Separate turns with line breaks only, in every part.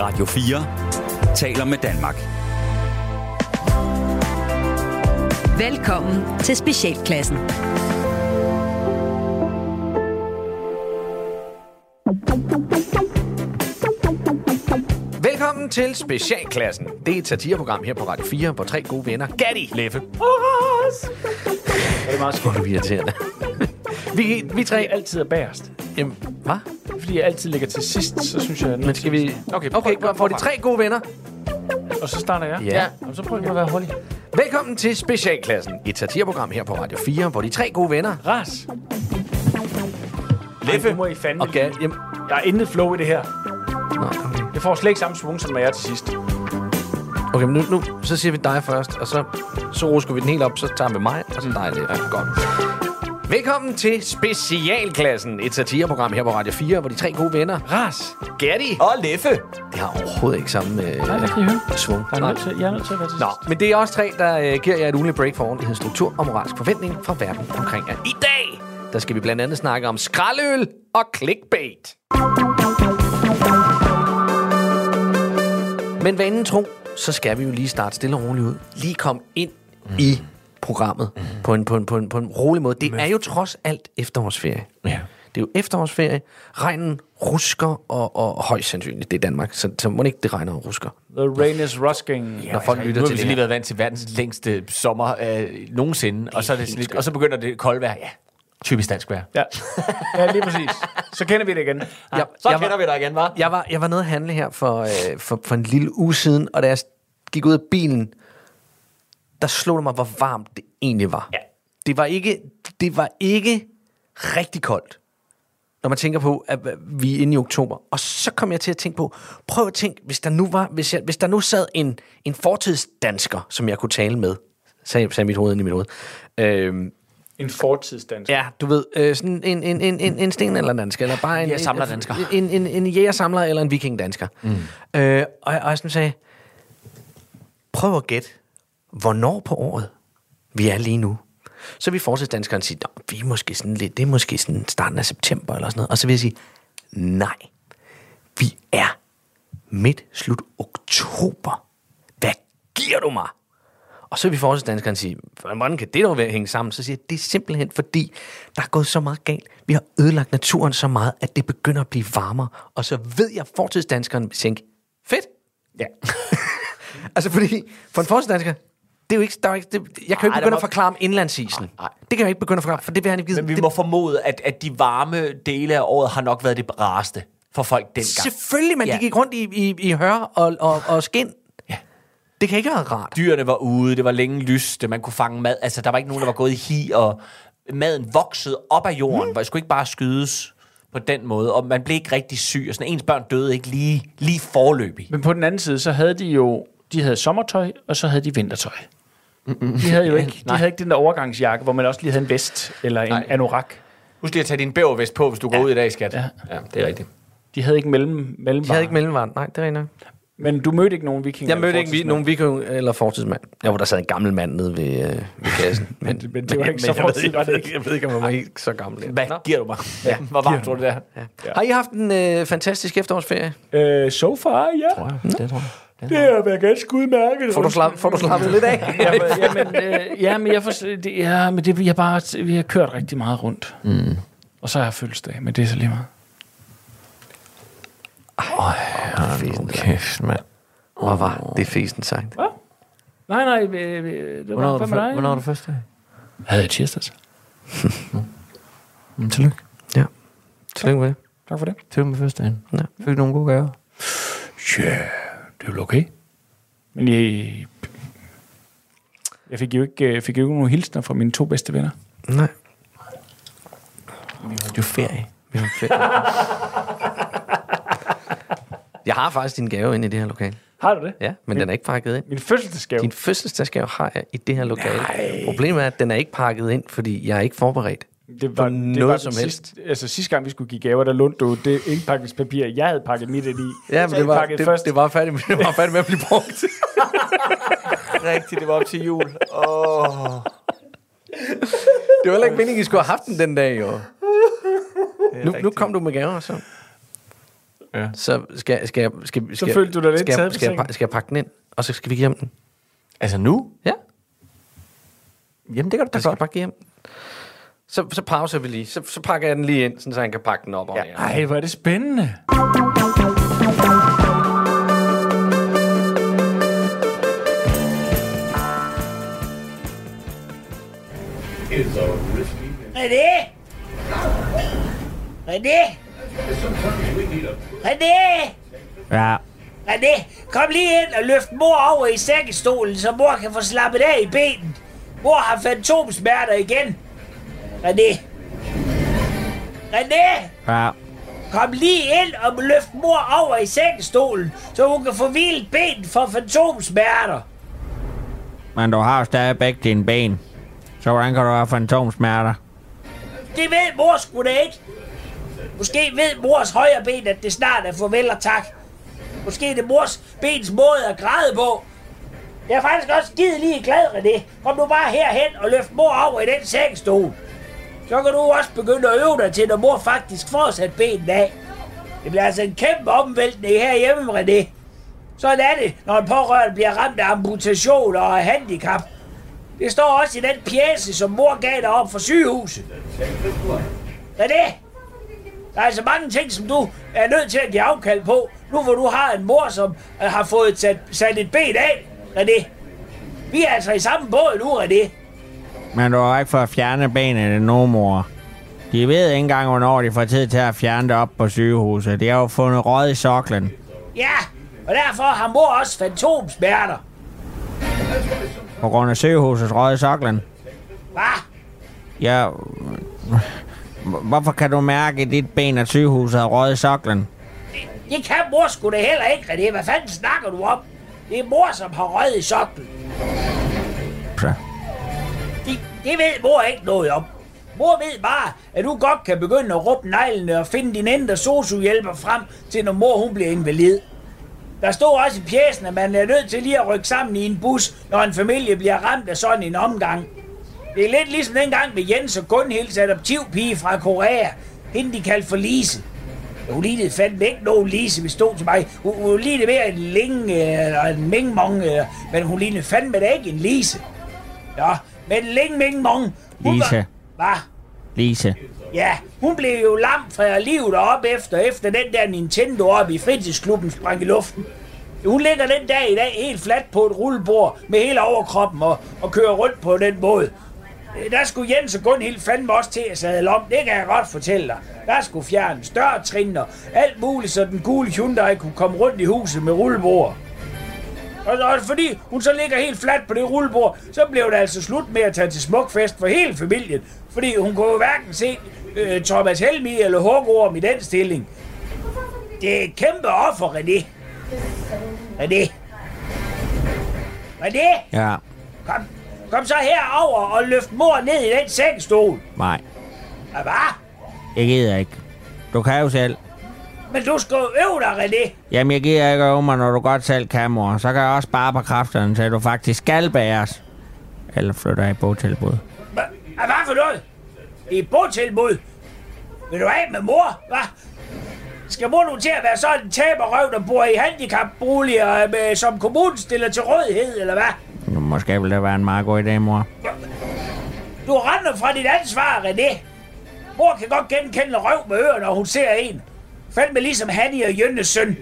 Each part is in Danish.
Radio 4 taler med Danmark.
Velkommen til Specialklassen.
Velkommen til Specialklassen. Det er et satireprogram her på Radio 4, hvor tre gode venner, Gatti, Leffe
Det er meget
Hvor
skønt.
er du irriterende. vi, vi
Fordi
tre...
jeg altid er bagerst.
Jamen, hvad?
Fordi jeg altid ligger til sidst, så synes jeg...
Men skal vi...
Okay, prøv,
okay
prøv, prøv,
for de tre gode venner.
Og så starter jeg.
Ja.
Jamen, så prøver jeg at være hurtig.
Velkommen til Specialklassen. Et satireprogram her på Radio 4, hvor de tre gode venner...
Ras.
Leffe
Ej, nu må I fandme...
og Gatti... Jamen,
Der er intet flow i det her.
nå, okay.
Jeg får slet ikke samme svung, som når jeg er til sidst.
okay, men nu, nu så siger vi dig først, og så, så rusker vi den helt op, så tager vi mig, og så dig lidt. Ja, godt. Velkommen til Specialklassen, et satireprogram her på Radio 4, hvor de tre gode venner,
Ras.
Gatti...
Og Leffe.
Det har overhovedet ikke samme øh,
Nej, hvad kan I høre?
svung.
Jeg er, nødt til, jeg er nødt til at være til
Nå,
sidst.
men det er også tre, der øh, giver jer et ugenligt break for ordentlighed, struktur og moralsk forventning fra verden omkring jer. I dag, der skal vi blandt andet snakke om skraldøl og clickbait. Men vanen tro, så skal vi jo lige starte stille og roligt ud. Lige komme ind mm. i programmet mm. på, en, på, en, på, en, på en rolig måde. Det er jo trods alt efterårsferie.
Ja.
Det er jo efterårsferie. Regnen rusker, og, og højst sandsynligt, det er Danmark, så, så må det ikke, det regner og rusker.
The rain is rusking.
Når folk lytter
Nu har
til
vi
det
så
her.
lige været vant til verdens længste sommer øh, nogensinde, og så, er det sådan lidt, og så begynder det kolde vejr. Ja, typisk dansk vejr.
Ja. ja, lige præcis. Så kender vi det igen.
Ja,
Så
jeg var-
kender vi dig igen, hva'?
Jeg var, jeg var nede at handle her for, øh, for, for en lille uge siden, og da jeg gik ud af bilen, der slog det mig, hvor varmt det egentlig var. Ja. Det, var ikke, det var ikke rigtig koldt, når man tænker på, at øh, vi er inde i oktober. Og så kom jeg til at tænke på, prøv at tænke, hvis der nu, var, hvis jeg, hvis der nu sad en, en fortidsdansker, som jeg kunne tale med, sagde, sagde mit hoved ind i mit hoved. Øhm,
En fortidsdansk.
Ja, du ved, øh, sådan en, en, en, en, en sten eller en dansker, eller bare en...
Jægersamlerdansker.
En, en, en, en jægersamler eller en vikingdansker. Mm. Øh, og, jeg- og jeg sådan sagde, prøv at gætte, hvornår på året vi er lige nu. Så vi fortsætter danskeren sige, "Nå, vi er måske sådan lidt, det er måske sådan starten af september eller sådan noget. Og så vil jeg sige, nej, vi er midt slut oktober. Hvad giver du mig? Og så vil vi fortsætte danskeren sige, hvordan kan det dog være hænge sammen? Så siger jeg, det er simpelthen fordi, der er gået så meget galt. Vi har ødelagt naturen så meget, at det begynder at blive varmere. Og så ved jeg, at fortidsdanskeren vil tænke, fedt. Ja. altså fordi, for en fortidsdansker, det er jo ikke, der er ikke det, jeg kan jo
Nej,
ikke
der
begynde
må-
at forklare om indlandsisen.
Nej.
Det kan jeg ikke begynde at forklare, for det vil han ikke vide.
Men vi
det,
må formode, at, at de varme dele af året har nok været det rareste for folk dengang.
Selvfølgelig, men ja.
Ja.
de gik rundt i, i, i hør og, og, og skin. Ja. Det kan ikke være rart.
Dyrene var ude, det var længe lyst, man kunne fange mad. Altså, der var ikke nogen, der var gået i hi, og maden voksede op af jorden, mm. hvor det skulle ikke bare skydes på den måde, og man blev ikke rigtig syg, og sådan ens børn døde ikke lige, lige forløbig.
Men på den anden side, så havde de jo... De havde sommertøj, og så havde de vintertøj. De havde jo ikke, de havde ikke den der overgangsjakke, hvor man også lige havde en vest eller en
Nej.
anorak.
Husk lige at tage din bævervest på, hvis du går ud i dag, skat. Ja, ja det er rigtigt.
De havde ikke mellem, mellem
De havde ikke mellemvaren. Nej, det er rigtigt. nok.
Men du mødte ikke nogen vikinger?
Jeg mødte ikke vi,
fortidsmænd?
nogen viking eller fortidsmand. Jeg var der sad en gammel mand nede ved, øh, ved kassen. men,
men det var ikke så
jeg ved-
fortid, var det
jeg ved
ikke.
Jeg ved ikke, om man var ikke så gammel.
Hvad Nå. giver du mig? Ja, Hvor varmt tror du det er? Ja.
Ja. Har I haft en øh, fantastisk efterårsferie?
Øh, so far, ja.
Det tror jeg.
Det har været ganske udmærket.
Får du, slap, får du slappet lidt af?
Jamen, jamen, øh, ja, men jeg for, det, ja, men det, vi, har bare, vi har kørt rigtig meget rundt. Mm. Og så har jeg fødselsdag, men det er så lige meget.
Fesen,
Kæft, mand.
Hvor var det fesen sagt?
Nej, nej, øh, øh, det var hvad med dig?
du første dag?
Havde jeg tirsdags.
Mm, tillykke.
Ja. Tillykke med det.
Tak for det.
Tillykke med første dagen.
Ja.
Fik nogle gode gaver.
Ja, yeah, det er vel okay. Men jeg, jeg fik jo ikke, øh, fik jo ikke nogen hilsner fra mine to bedste venner.
Nej.
Det er jo ferie.
Vi har ferie. Jeg har faktisk din gave inde i det her lokale.
Har du det?
Ja, men den er ikke pakket ind.
Min fødselsdagsgave.
Din fødselsdagsgave har jeg i det her lokale. Nej. Problemet er, at den er ikke pakket ind, fordi jeg er ikke forberedt.
Det var,
på
det
noget
var den
som
sidste, Altså sidste gang, vi skulle give gaver, der lånte du det indpakningspapir, jeg havde pakket mit ind i.
Ja, men
Så
det var,
indpakket
det,
først.
det, var færdig, det var færdig med at blive brugt.
Rigtigt, det var op til jul. Åh. Oh.
Det var heller ikke meningen, I skulle have haft den den dag, jo. Nu, nu kom du med gaver, så.
Ja.
Så skal, skal, jeg- skal, skal, skal,
følte du dig lidt
skal,
taget
jeg-
på
skal, jeg,
sengen.
pa- skal jeg pakke den ind, og så skal vi give ham den?
Altså nu?
Ja,
Jamen, det kan du da
jeg skal
godt.
Altså, pakke hjem. Så, så pauser vi lige. Så, så pakker jeg den lige ind, sådan, så han kan pakke den op. Ja. Og
Ej, hvor er det spændende.
René! René! René!
Ja.
René, kom lige ind og løft mor over i sækkestolen, så mor kan få slappet af i benen. Mor har fantomsmerter igen. René! René!
Ja.
Kom lige ind og løft mor over i sækkestolen, så hun kan få hvilet benen for fantomsmerter.
Men du har jo stadig begge dine ben. Så hvordan kan du have fantomsmerter?
Det ved mor sgu da ikke. Måske ved mors højre ben, at det snart er farvel og tak. Måske er det mors bens måde at græde på. Jeg er faktisk også skide lige glad, René. Kom nu bare herhen og løft mor over i den sengstol. Så kan du også begynde at øve dig til, når mor faktisk får sat benene af. Det bliver altså en kæmpe omvæltning herhjemme, René. Sådan er det, når en pårørende bliver ramt af amputationer og handicap. Det står også i den pjæse, som mor gav dig op for sygehuset. Hvad er det? Der er altså mange ting, som du er nødt til at give afkald på, nu hvor du har en mor, som øh, har fået sat, sat et ben af, René. Vi er altså i samme båd nu, René.
Men du har ikke fået fjernet benene endnu, mor. De ved ikke engang, hvornår de får tid til at fjerne det op på sygehuset. De har jo fundet råd i soklen.
Ja, og derfor har mor også fantomsmerter.
På grund af sygehusets råd i soklen.
Hva?
Ja... Hvorfor kan du mærke i dit ben, at sygehuset har råd i soklen?
Det kan mor sgu da heller ikke, René. Hvad fanden snakker du om? Det er mor, som har røget i soklen.
Så.
Det, det ved mor ikke noget om. Mor ved bare, at du godt kan begynde at råbe neglene og finde din indre sosuhjælper frem til, når mor hun bliver invalid. Der stod også i pjæsen, at man er nødt til lige at rykke sammen i en bus, når en familie bliver ramt af sådan en omgang. Det er lidt ligesom dengang med Jens og Gunhilds adoptivpige fra Korea. Hende de kaldte for Lise. Hun lignede fandme ikke nogen Lise, hvis stod til mig. Hun, hun lignede mere en Ling øh, eller en Mingmong, øh, men hun lignede fandme da ikke en Lise. Ja, men Ling Ming Mong... hun
Lise.
Var, hvad?
Lise.
Ja, hun blev jo lam fra livet og op efter, efter den der Nintendo op i fritidsklubben sprang i luften. Hun ligger den dag i dag helt fladt på et rullebord med hele overkroppen og, og kører rundt på den måde. Øh, Der skulle Jens og Gunhild fandme også til at sadle om, det kan jeg godt fortælle dig. Der skulle fjerne større trin og alt muligt, så den gule Hyundai kunne komme rundt i huset med rullebord. Og, og fordi hun så ligger helt fladt på det rullebord, så blev det altså slut med at tage til smukfest for hele familien. Fordi hun kunne jo hverken se øh, Thomas Helmi eller Hågorm i den stilling. Det er et kæmpe offer, René. René. René,
Ja.
kom, kom så herover og løft mor ned i den sengstol.
Nej.
Hvad? var?
Jeg gider ikke. Du kan jo selv.
Men du skal jo øve dig, René.
Jamen, jeg gider ikke øve mig, når du godt selv kan, mor. Så kan jeg også spare på kræfterne, så du faktisk skal bæres. Eller flytter jeg i botilbud.
Hva, ah, hvad for noget? Det er et botilbud. Vil du af med mor, hva? Skal mor nu til at være sådan en taberrøv, der bor i handicapboliger, øh, med, som kommunen stiller til rådighed, eller hvad?
Nu, Måske ville det være en meget god idé, mor.
Du render fra dit ansvar, René. Mor kan godt genkende røv med ører, når hun ser en. Fandme ligesom Hanni og Jønnes søn.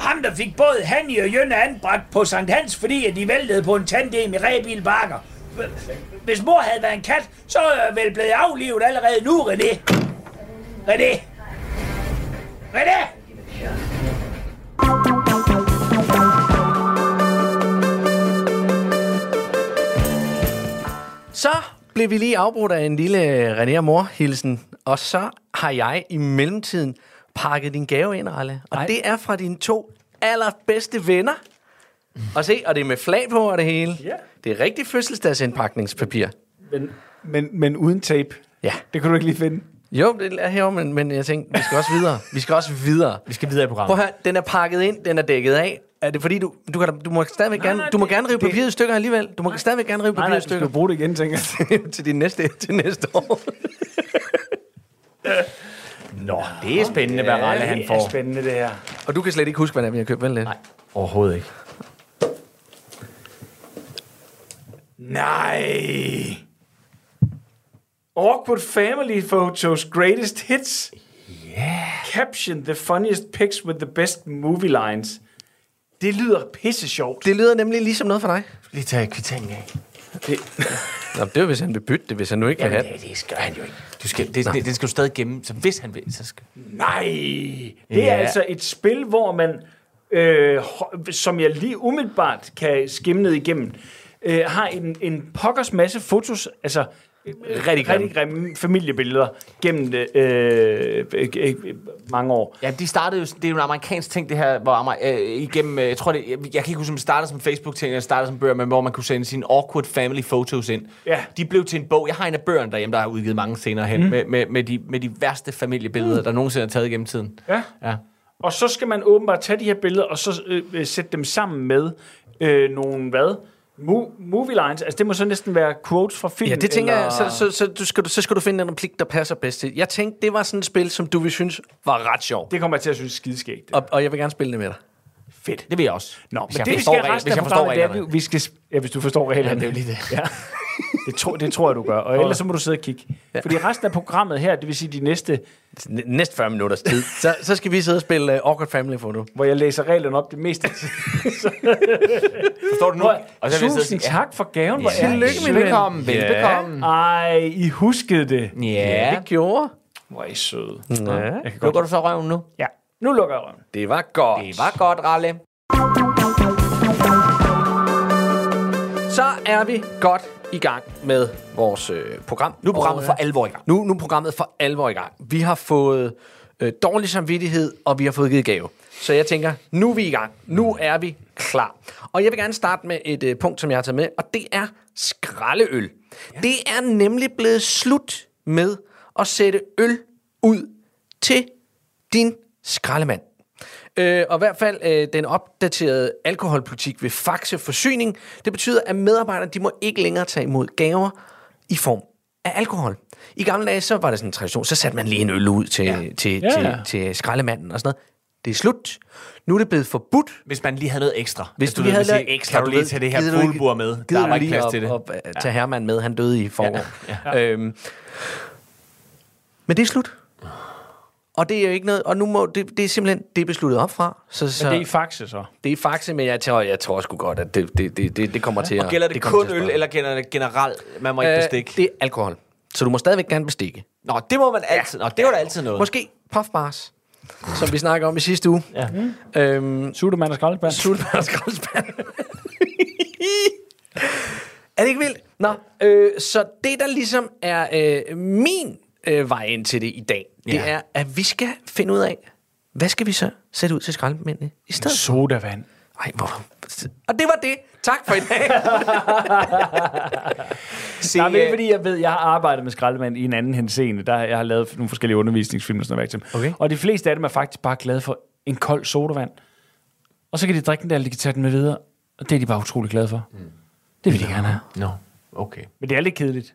Ham, der fik både Hanni og Jønne anbragt på Sankt Hans, fordi at de væltede på en tandem i Rebil Bakker. Hvis mor havde været en kat, så er jeg vel blevet aflivet allerede nu, René. René. René!
Så blev vi lige afbrudt af en lille René og mor-hilsen, og så har jeg i mellemtiden pakket din gave ind, Ralle. Og Ej. det er fra dine to allerbedste venner. Og se, og det er med flag på og det hele.
Ja.
Det er rigtig fødselsdagsindpakningspapir.
Men, men, men uden tape.
Ja.
Det kunne du ikke lige finde.
Jo, det er herovre, men, men jeg tænkte, vi skal også videre. Vi skal også videre.
Vi skal videre i
Prøv
programmet.
at høre, den er pakket ind, den er dækket af. Er det fordi, du, du, kan, da- du må stadigvæk gerne, du må gerne rive papiret i stykker alligevel. Du må stadigvæk gerne rive
Nej,
papiret
nej,
i
du skal
stykker.
jo bruge det igen, tænker jeg.
til, din næste, til næste år.
Nå, det er spændende, hvad Ralle han
Det er
får.
spændende, det her.
Og du kan slet ikke huske, hvad det er, vi har købt, vel? Nej.
Overhovedet ikke.
Nej. Awkward family photos, greatest hits. Yeah. Caption the funniest pics with the best movie lines. Det lyder pisse sjovt.
Det lyder nemlig ligesom noget for dig.
Lige tage kvitteringen af.
Nå, det er, hvis han vil bytte det, hvis han nu ikke vil have det.
Ja, det skal han jo ikke. Du skal, det, det, den skal du stadig gemme, så hvis han vil, så skal...
Nej. Det
Ja.
er altså et spil, hvor man, øh, ho- som jeg lige umiddelbart kan skimme ned igennem, øh, har en, en pokkers masse fotos, altså øh, rigtig grimme, rigtig grimme familiebilleder gennem øh, øh, øh, øh, mange år.
Ja, de startede jo, sådan- det er jo en amerikansk ting, det her, hvor Amer, øh, igennem, øh, jeg tror det, jeg, jeg kan ikke huske, om det startede som Facebook-ting, eller startede som bøger, men hvor man kunne sende sine awkward family photos ind.
Ja.
De blev til en bog. Jeg har en af bøgerne derhjemme, der har udgivet mange senere hen, mm. med, med, med, de, med de værste familiebilleder, mm. der nogensinde er taget gennem tiden.
Ja.
ja.
Og så skal man åbenbart tage de her billeder, og så øh, øh, sætte dem sammen med øh, nogle, hvad? Mo- movie lines. Altså, det må så næsten være quotes fra film.
Ja, det tænker jeg, så, så, så, du skal, du- så skal du finde en replik, der passer bedst til. Jeg tænkte, det var sådan et spil, som du ville synes var ret sjovt.
Det kommer jeg til at synes er skideskægt.
Og, og jeg vil gerne spille det med dig.
Fedt. Det vil jeg også.
Nå,
hvis
men
jeg
det, vi
forstår
skal
reg-
resten
hvis
af
jeg forstår
programmet, det er,
reglerne.
at vi, vi skal... Ja, hvis du forstår reglerne.
Ja, det er jo lige det.
Ja. Det, tror, det tror jeg, du gør. Og ellers så må du sidde og kigge. Fordi resten af programmet her, det vil sige de næste,
N- Næste 40 minutters tid, så, så skal vi sidde og spille uh, Awkward Family Photo.
hvor jeg læser reglerne op det meste. af tiden.
Forstår du nu? Og så vil jeg sidde og
Tusind
sige,
tak for gaven. Hvor
ja,
er
Tillykke, min ven.
Velkommen, velbekomme.
Ej, I huskede det.
Ja.
Det gjorde.
Hvor er I søde.
Ja.
Lukker du så røven nu?
Ja, nu lukker jeg røven.
Det var godt.
Det var godt, Ralle.
Så er vi godt i gang med vores øh, program.
Nu er programmet
Og,
for alvor i gang.
Nu, nu er programmet for alvor i gang. Vi har fået øh, dårlig samvittighed, og vi har fået givet gave. Så jeg tænker, nu er vi i gang. Nu er vi klar. Og jeg vil gerne starte med et øh, punkt, som jeg har taget med, og det er skraldeøl. Ja. Det er nemlig blevet slut med at sætte øl ud til din skraldemand. Øh, og i hvert fald øh, den opdaterede alkoholpolitik ved Faxe Forsyning, det betyder, at medarbejderne de må ikke længere tage imod gaver i form af alkohol. I gamle dage, så var det sådan en tradition, så satte man lige en øl ud til, ja. til, ja, ja.
ja.
til, til skraldemanden og sådan noget. Det er slut. Nu er det blevet forbudt.
Hvis man lige havde noget ekstra.
Hvis
Altså,
du lige havde
hvis
lavet
ikke ekstra, kan du lige tage det her
gider du ikke-
fuglebur med.
gider
Der
du
var ikke
lige
plads
at-
til det.
at, at tage Herman med, han døde i forår. Ja. Ja. Øhm, men det er slut. Og det er jo ikke noget, og nu må, det, det er simpelthen, det er besluttet opfra. Så, så,
Men det er i faxe så.
Det er faktisk, men jeg tror, jeg tror sgu godt, at det, det, det, det, det kommer til at...
Og gælder det,
kommer
kun
til at
øl,
sprede.
eller gælder det generelt? Man må ikke bestikke.
Øh, det er alkohol. Så du må stadigvæk gerne bestikke.
Nå, det må man altid. Nå, det var da altid noget.
Måske puffbars, som vi snakkede om i sidste uge.
Ja.
Øhm,
Suttermand og skraldespand.
Sultmand og skraldespand. er det ikke vildt? Nå, øh, så det der ligesom er øh, min øh, vej ind til det i dag, det
Ja.
er, at vi skal finde ud af, hvad skal vi så sætte ud til skraldemændene i stedet?
Sodavand.
Ej, hvor... Og det var det. Tak for i dag.
Se,
Nej, men
øh,
ikke fordi jeg ved, jeg har arbejdet med skraldemand i en anden henseende. Der, jeg har lavet nogle forskellige undervisningsfilm og sådan noget. værk til dem.
Okay.
Og de fleste af dem er faktisk bare glade for en kold sodavand. Og så kan de drikke den der, eller de kan tage den med videre. Og det er de bare utrolig glade for. Mm. Det vil de gerne have.
Nå, okay.
Men det er lidt kedeligt.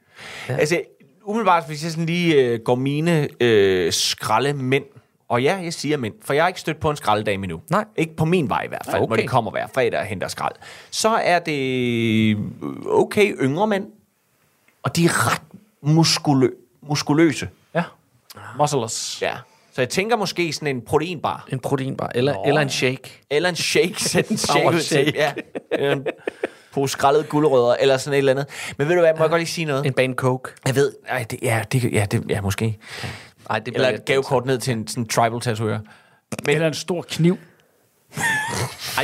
Ja. Altså, umiddelbart, hvis jeg sådan lige øh, går mine øh, skralde mænd, og ja, jeg siger mænd, for jeg har ikke stødt på en skraldedag endnu.
Nej.
Ikke på min vej i hvert fald,
Nej,
okay.
okay.
hvor de kommer hver fredag og henter skrald. Så er det øh, okay yngre mænd, og de er ret muskulø- muskuløse.
Ja. Muscles.
Ja. Så jeg tænker måske sådan en proteinbar.
en proteinbar, eller, eller en shake.
Eller en shake. Sæt en shake ud til.
Powershake.
Ja. Eller En pose skraldede gulerødder, eller sådan et eller andet. Men ved du hvad, må jeg godt lige sige noget?
En bane coke.
Jeg ved, ej, det, ja, det, kan- ja, det, ja, måske.
Ej, det
Eller
bliver-
et gavekort ned til en sådan tribal tatovør.
Men... Eller en stor kniv.
Ej,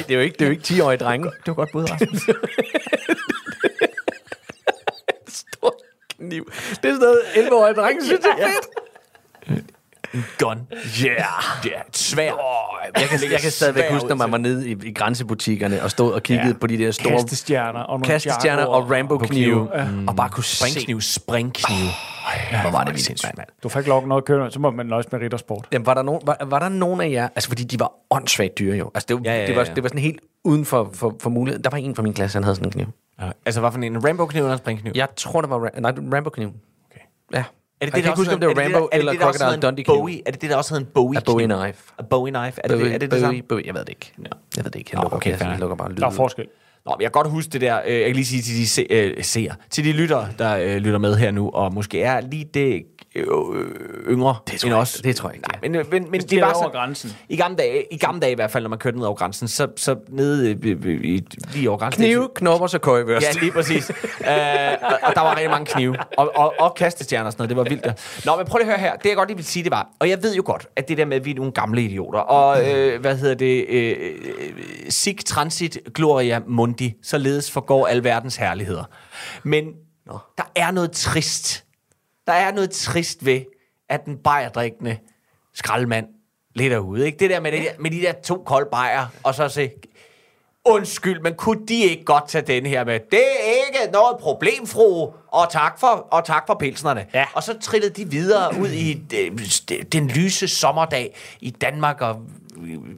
det er jo ikke, det er jo ikke 10-årige drenge. Det var godt bud, Rasmus. Stor kniv. Det er sådan noget, 11-årige drenge synes jeg er fedt.
Gun. Yeah. Yeah. Et svær. Oh,
Jeg kan, jeg kan stadigvæk huske, når man var nede i, i grænsebutikkerne og stod og kiggede ja. på de der store
Kastestjerner og nogle
kastestjerner
jakker
og Rambo-knive, Mm. og, bare kunne se,
Springkniv, springkniv.
hvor var det vildt, mand.
Du får ikke lov noget kønner, så må man nøjes med riddersport.
Jamen, var, der nogen, var, var der nogen af jer, altså fordi de var åndssvagt dyre jo, altså det, var, ja, ja, ja. det, var, det var sådan helt uden for, for, for mulighed. Der var en fra min klasse, han havde sådan en kniv.
Altså, hvad for en? En Rambo-kniv eller en springkniv?
Jeg tror, det var Ra- nej, Rambo-kniv. Okay. Ja,
Er det
kan
der
ikke
også
huske, om det var
hedder- er der-
Rambo
er det
eller
det, der også
Crocodile
hedder en
Dundee kniv?
Bowie? Er det det, der også hedder en Bowie?
A Bowie
kniv?
knife.
A Bowie knife. Er det det, er det, det samme?
Bowie, Bowie, jeg ved det ikke.
Nå.
Jeg ved det ikke. Jeg
Nå,
lukker,
okay,
okay,
fair.
jeg, jeg lukker bare lyden.
Der er forskel.
Nå, men jeg kan godt huske det der. Øh, jeg kan lige sige til de se, øh, seere, til de lyttere, der øh, lytter med her nu, og måske er lige det øh, yngre
Det tror
end
jeg
os.
ikke, det tror jeg ikke,
Nej, men, men, men
de
det var
er over
sådan,
grænsen.
I gamle, dage, I gamle dage i hvert fald, når man kørte ned over grænsen, så, så nede øh, øh, øh, i- lige over grænsen.
Knive, knopper, så køjvørst.
Ja, lige præcis. øh, og, og der var rigtig mange knive. Og, og, og kastestjerner og sådan noget. Det var vildt. Der. Nå, men prøv lige at høre her. Det jeg godt lige vil sige, det var... Og jeg ved jo godt, at det der med, at vi er nogle gamle idioter. Og øh, hvad hedder det? Øh, øh, Sig transit gloria mundi. Således forgår alverdens herligheder. Men Nå. der er noget trist. Der er noget trist ved, at den bajerdrikkende skraldemand lidt derude. Ikke? Det der med, det, med de der to kolde bajer, og så se, Undskyld, men kunne de ikke godt tage den her med? Det er ikke noget problem, fru. Og tak for, og tak for pilsnerne. Ja. Og så trillede de videre ud i øh, st- den lyse sommerdag i Danmark og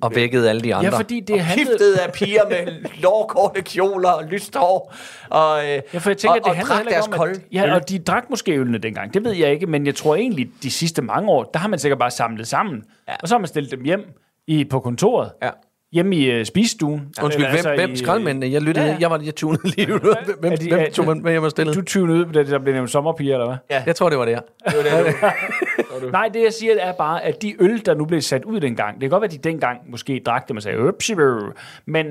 Og vækkede alle de andre.
Ja, fordi det handlede...
kiftet af piger med lårkorte kjoler og lyst hår. Og, øh,
Ja, for jeg tænker,
og,
at det
og
handler
drak
heller ikke
deres
om, at,
kolde.
ja, og de drak måske ølene dengang, det ved jeg ikke, men jeg tror egentlig, de sidste mange år, der har man sikkert bare samlet sammen, ja. og så har man stillet dem hjem i, på kontoret,
Ja.
hjemme i uh, spisestuen.
Undskyld,
Eller
hvem, altså hvem
i-
skraldmændene? Jeg lyttede,
Ja,
ja,
ja.
jeg var jeg tunede lige ud. Hvem,
Er de- er-
hvem tog man med hjem og stillede?
Du tyvende ud på det, der blev nævnt sommerpiger, eller hvad?
Jeg tror, det var det her.
Nej, det jeg siger er bare, at de øl, der nu blev sat ud dengang, det kan godt være, at de dengang måske drak dem og sagde, "Øpsi, øh." men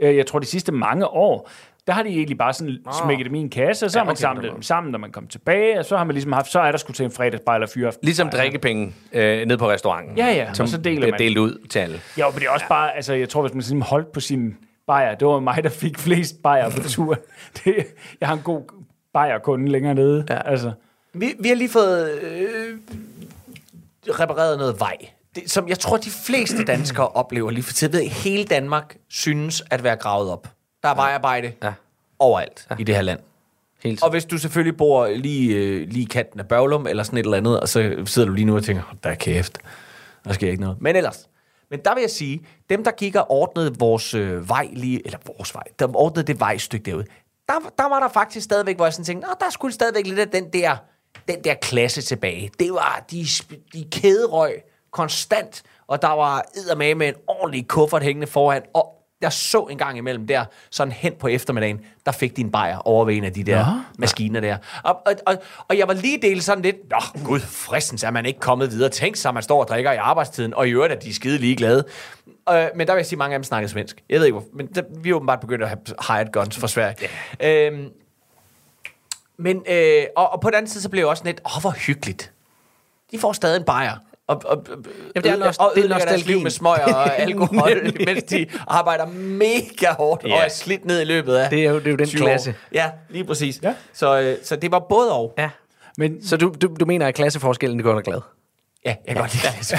øh, jeg tror, de sidste mange år, der har de egentlig bare sådan smækket dem i en kasse, og så ja, har man
okay,
samlet dem sammen, når man kom tilbage, og så har man ligesom haft, så er der skulle til en fredagsbar eller fyraften.
Ligesom drikkepenge øh, ned på restauranten.
Ja, ja,
Som
og så deler
bliver
man.
delt ud til alle.
Ja, men det er også ja. bare, altså jeg tror, hvis man sådan holdt på sin bajer, det var mig, der fik flest bajer på turen. Det, jeg har en god bajerkunde længere nede. Ja. Altså,
Vi, vi har lige fået øh, repareret noget vej, det, som jeg tror, de fleste danskere oplever lige for tiden. Jeg ved, Hele Danmark synes at være gravet op. Der er vejarbejde ja.
Ja.
overalt ja. i det her land.
Helt
Og hvis du selvfølgelig bor lige, øh, lige i kanten af Børglum eller sådan et eller andet, og så sidder du lige nu og tænker, "Hold da kæft, der sker ikke noget. Men ellers, men der vil jeg sige, dem der gik og ordnede vores øh, vej lige, eller vores vej, der ordnede det vejstykke derude, der, der var der faktisk stadigvæk, hvor jeg sådan tænkte, Nå, der skulle stadigvæk lidt af den der, den der klasse tilbage. Det var, de, sp- de kæderøg konstant, og der var eddermame med en ordentlig kuffert hængende foran, og jeg så en gang imellem der, sådan hen på eftermiddagen, der fik de en bajer over ved en af de der ja. maskiner der. Og, og, og, og jeg var lige delt sådan lidt, Nå, gud, fristens er man ikke kommet videre. Tænk sig, at man står og drikker i arbejdstiden, og i øvrigt er de skide ligeglade. Øh, men der vil jeg sige, at mange af dem snakkede svensk. Jeg ved ikke, hvor, men der, vi er åbenbart begyndt at have hired guns fra Sverige. Ja. Øhm, men, øh, og, og på den anden side, så blev jeg også sådan lidt, åh, hvor hyggeligt. De får stadig en bajer. Og, og, Jamen,
det er nost- det er
deres
nostalgien.
liv med smøger og alkohol, mens de arbejder mega hårdt yeah. og er slidt ned i løbet af
Det er jo- det er jo den
20 år.
klasse.
Ja, lige præcis.
Ja.
Ja. Så, øh, så det var både og.
Ja.
men,
Så du, du, du mener, at klasseforskellen gør dig glad?
Ja, jeg kan godt lide klasse.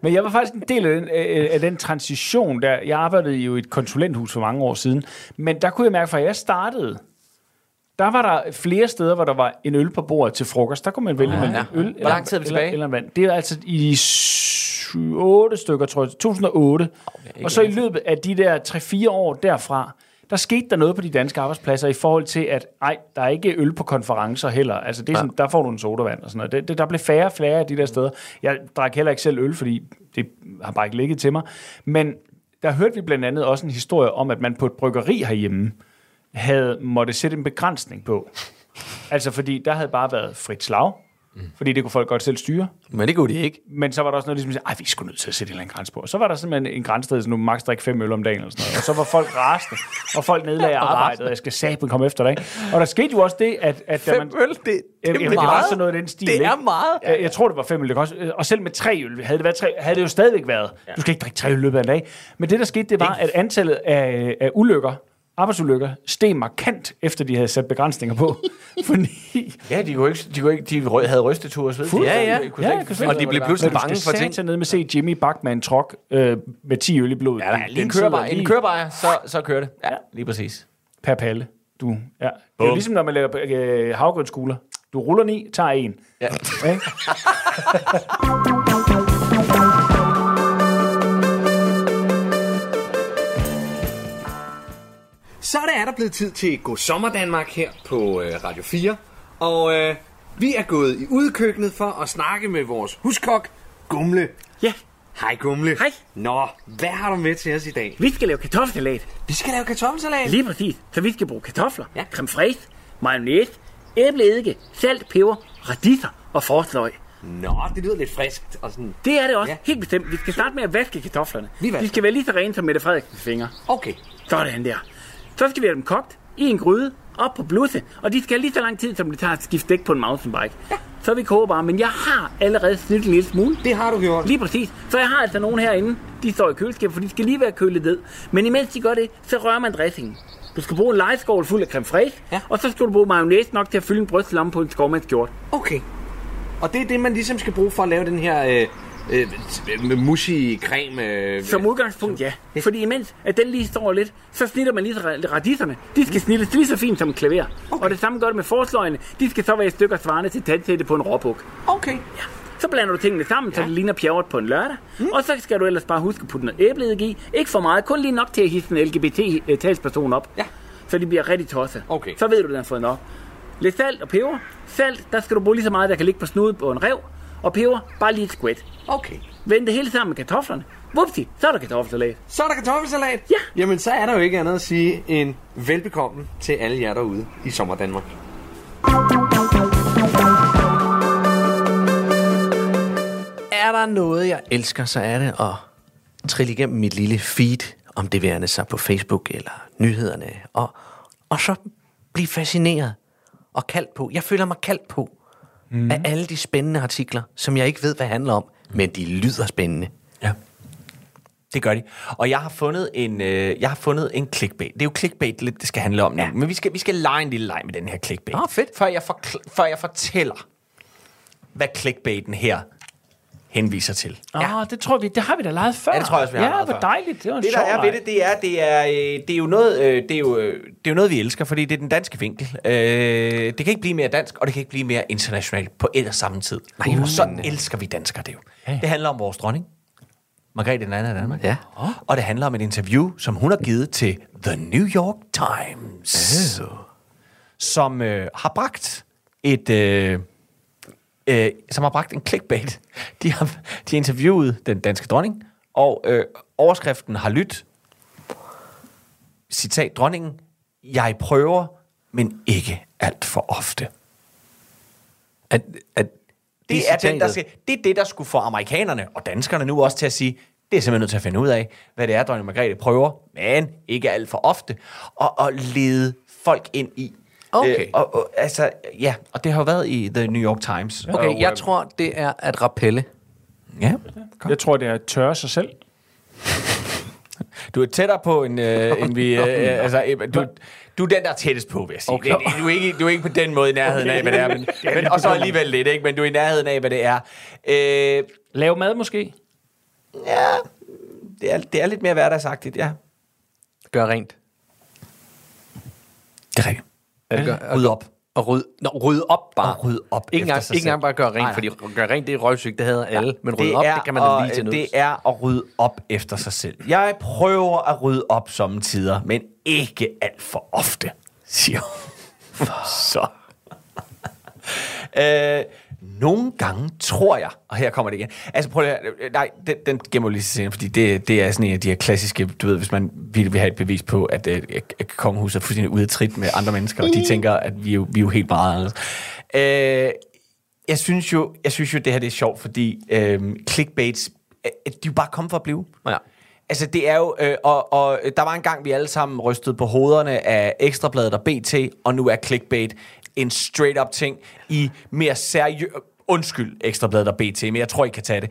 men jeg var faktisk en del af den, øh, af den transition, der jeg arbejdede jo i et konsulenthus for mange år siden, men der kunne jeg mærke, fra jeg startede, der var der flere steder, hvor der var en øl på bordet til frokost. Der kunne man vælge mellem ja. øl eller,
lang tid er vi
eller,
tilbage?
eller vand. Det er altså i 8 stykker, tror jeg. 2008. og så i løbet af de der 3-4 år derfra, der skete der noget på de danske arbejdspladser i forhold til, at ej, der er ikke øl på konferencer heller. Altså, det er sådan, der får du en sodavand og sådan noget. Det, det, der blev færre og flere af de der steder. Jeg drak heller ikke selv øl, fordi det har bare ikke ligget til mig. Men der hørte vi blandt andet også en historie om, at man på et bryggeri herhjemme, havde måtte sætte en begrænsning på. Altså fordi der havde bare været frit slag, mm. fordi det kunne folk godt selv styre.
Men det kunne de ikke.
Men så var der også noget, ligesom, sagde, ej, vi skulle nødt til at sætte en eller anden grænse på. Og så var der simpelthen en grænse, der hed sådan, nu må max drikke fem øl om dagen, eller sådan noget. og så var folk rasende, og folk nedlagde arbejdet, og jeg skal saben komme efter dig. ikke? Og der skete jo også det, at, at da man,
det,
Jamen, jamen, det var sådan noget i den stil. ikke?
meget.
Jeg, jeg tror, det var fem øl. det kostede. Og selv med tre øl, havde det, været tre, havde det jo stadigvæk været. Du skal ikke drikke tre øl i løbet af en dag. Men det, der skete, det var, at antallet af, af ulykker, arbejdsulykker, steg markant, efter de havde sat begrænsninger på. Fordi
ja, de, kunne ikke, de, kunne ikke, de rø- havde rystetur og sved.
Ja, ja.
De kunne
Ja,
slet
jeg
ikke
kan
finde
se
ud
Og
af,
de
hvad
blev
det
pludselig
man
bange for
skal
ting.
sætte ned med at se Jimmy Bachman trok øh, med 10 øl i blodet.
var. Ja, der er
Den-
lige en
den sidder
kørebar, en
lige
kørebar, så, så kører det. Ja, lige præcis.
Per palle. Du, ja. Det er jo ligesom, når man laver øh, havgrønskugler. Du ruller ni, tager en.
Ja.
Ikke?
Så er det er der blevet tid til God Sommer Danmark her på øh, Radio 4. Og øh,
Vi er gået i udkøkkenet for at snakke med vores huskok, Gumle.
Ja,
Hej Gumle.
Hej.
Nå, hvad har du med til os i dag?
vi skal lave kartoffelsalat.
Vi skal lave kartoffelsalat.
Lige præcis. Så vi skal bruge kartofler,
Ja.
ja. creme fraise, mayonnaise, æbleeddike, salt, peber, radiser og forsløg.
Nå, det lyder lidt friskt og sådan.
Det er det også,
Ja.
ja. helt bestemt. Vi skal starte med at vaske kartoflerne.
Vi vasker.
De skal være lige så rene som Mette Frederiksens fingre.
Okay.
Sådan der. Så skal vi have dem kogt i en gryde, op på blusse, og de skal lige så lang tid, som det tager at skifte dæk på en mountainbike. Ja. Så vi koger bare, men jeg har allerede snittet en lille smule.
Det har du gjort.
Lige præcis. Så jeg har altså nogen herinde, de står i køleskabet, for de skal lige være kølet ned. Men imens de gør det, så rører man dressingen. Du skal bruge en lejeskål fuld af creme fraiche,
Ja.
ja. og så skal du bruge mayonnaise nok til at fylde en brystlomme på en skovmandskjort.
Okay. Og det er det, man ligesom skal bruge for at lave den her øh, øh, med mushy creme. Øh,
Som udgangspunkt, ja. Fordi imens, at den lige står lidt, så snitter man lige ra- radiserne. De skal snittes lige så fint som et klaver. Mm. Okay. Og det samme gør det med forsløgene. De skal så være i stykker svarende til tandsætte på en råbuk.
Okay.
Så blander du tingene sammen, ja. så det ligner pjerret på en lørdag. Mm. Og så skal du ellers bare huske at putte noget æbleeddike i. Ikke for meget, kun lige nok til at hisse en LGBT-talsperson op.
Ja.
Så de bliver rigtig tosset.
Okay.
Så ved du, den har fået nok. Lidt salt og peber. Salt, der skal du bruge lige så meget, der kan ligge på snuden på en rev. Og peber, bare lige et squat.
Okay.
Vend det hele sammen med kartoflerne. Vupsi, så er der kartoffelsalat.
Så er der kartoffelsalat.
Ja.
Jamen, så er der jo ikke andet at sige end velbekomme til alle jer derude i Sommer Danmark.
Er der noget, jeg elsker, så er det at trille igennem mit lille feed, om det værende sig på Facebook eller nyhederne, og, og så blive fascineret og kaldt på. Jeg føler mig kaldt på
Mhm.
mm. af alle de spændende artikler, som jeg ikke ved, hvad handler om, men de lyder spændende.
Ja. Det gør de. Og jeg har fundet en, øh, jeg har fundet en clickbait. Det er jo clickbait lidt, det skal handle om nu. Ja. Men vi skal, vi skal lege en lille leg med den her clickbait.
Nå, fedt.
Før jeg, forkl- før jeg fortæller, hvad clickbaiten her henviser til.
Ja. Ah, det tror vi, det har vi da lejet før.
Ja, det tror jeg også, vi har
Ja,
meget
hvor
før.
dejligt. Det var en
det, der
sjov
er
leg.
ved det, det er, det er, øh, det er jo noget, øh, det er jo, øh, det er jo noget, vi elsker, fordi det er den danske vinkel. Øh, det kan ikke blive mere dansk, og det kan ikke blive mere internationalt på et og samme tid. Nej, uh. Så elsker vi danskere det jo. Det handler om vores dronning, Margrethe den anden af Danmark.
Ja.
Og det handler om et interview, som hun har givet til The New York Times. Uh. Som øh, har bragt et... Øh, øh, som har bragt en clickbait. De har de har interviewet den danske dronning, og øh, overskriften har lyttet, citat dronningen, jeg prøver, men ikke alt for ofte.
At, at
Det, er, den, der skal, det er det, der skulle få amerikanerne og danskerne nu også til at sige, det er simpelthen nødt til at finde ud af, hvad det er, dronning Margrethe prøver, men ikke alt for ofte, og, og lede folk ind i. øh,
Okay.
og, og, altså, ja, og det har jo været i The New York Times.
Okay, jeg tror, det er at rappelle.
Ja.
Jeg tror, det er at tørre sig selv.
Du er tættere på, end, øh, end vi... Øh, øh, altså, øh, du, du er den, der er tættest på, vil jeg sige. Okay. Det, du, er ikke, du er ikke på den måde i nærheden af, hvad det er. Men, men, og så alligevel lidt, ikke? Men du er i nærheden af, hvad det er. Øh,
Lave mad måske.
ja, det er, det er lidt mere hverdagsagtigt, ja.
Gør rent.
Det er rigtigt.
Er det gør,
Ryd op.
og ryd, nå, ryd op bare.
Og ryd op
Ikke
efter
engang,
sig
ikke engang
selv.
bare gør rent,
Nej, nej.
fordi gør rent, det er røvsygt, det hader alle. Men ryd op, det kan man
at-
da lige til
Det
noget.
er at rydde op efter sig selv. Jeg prøver at rydde op sommetider, men ikke alt for ofte, siger hun. Så. øh, nogle gange tror jeg, og her kommer det igen. Altså prøv lige, at høre, øh, nej, den, den gemmer vi lige til senere, fordi det, det er sådan en af de her klassiske, du ved, hvis man virkelig vil have et bevis på, at, øh, at, at kongehuset er fuldstændig ude af trit med andre mennesker, og de tænker, at vi er jo, vi er jo helt meget anderledes. Øh, jeg synes jo, jeg synes jo det her det er sjovt, fordi øhm, clickbaits, øh, de er jo bare kommet for at blive.
Ja.
Altså det er jo, øh, og, og der var en gang, vi alle sammen rystede på hovederne af Ekstrabladet og BT, og nu er clickbait en straight up ting i mere seriøs... Undskyld Ekstrabladet og BT, men jeg tror, I kan tage det.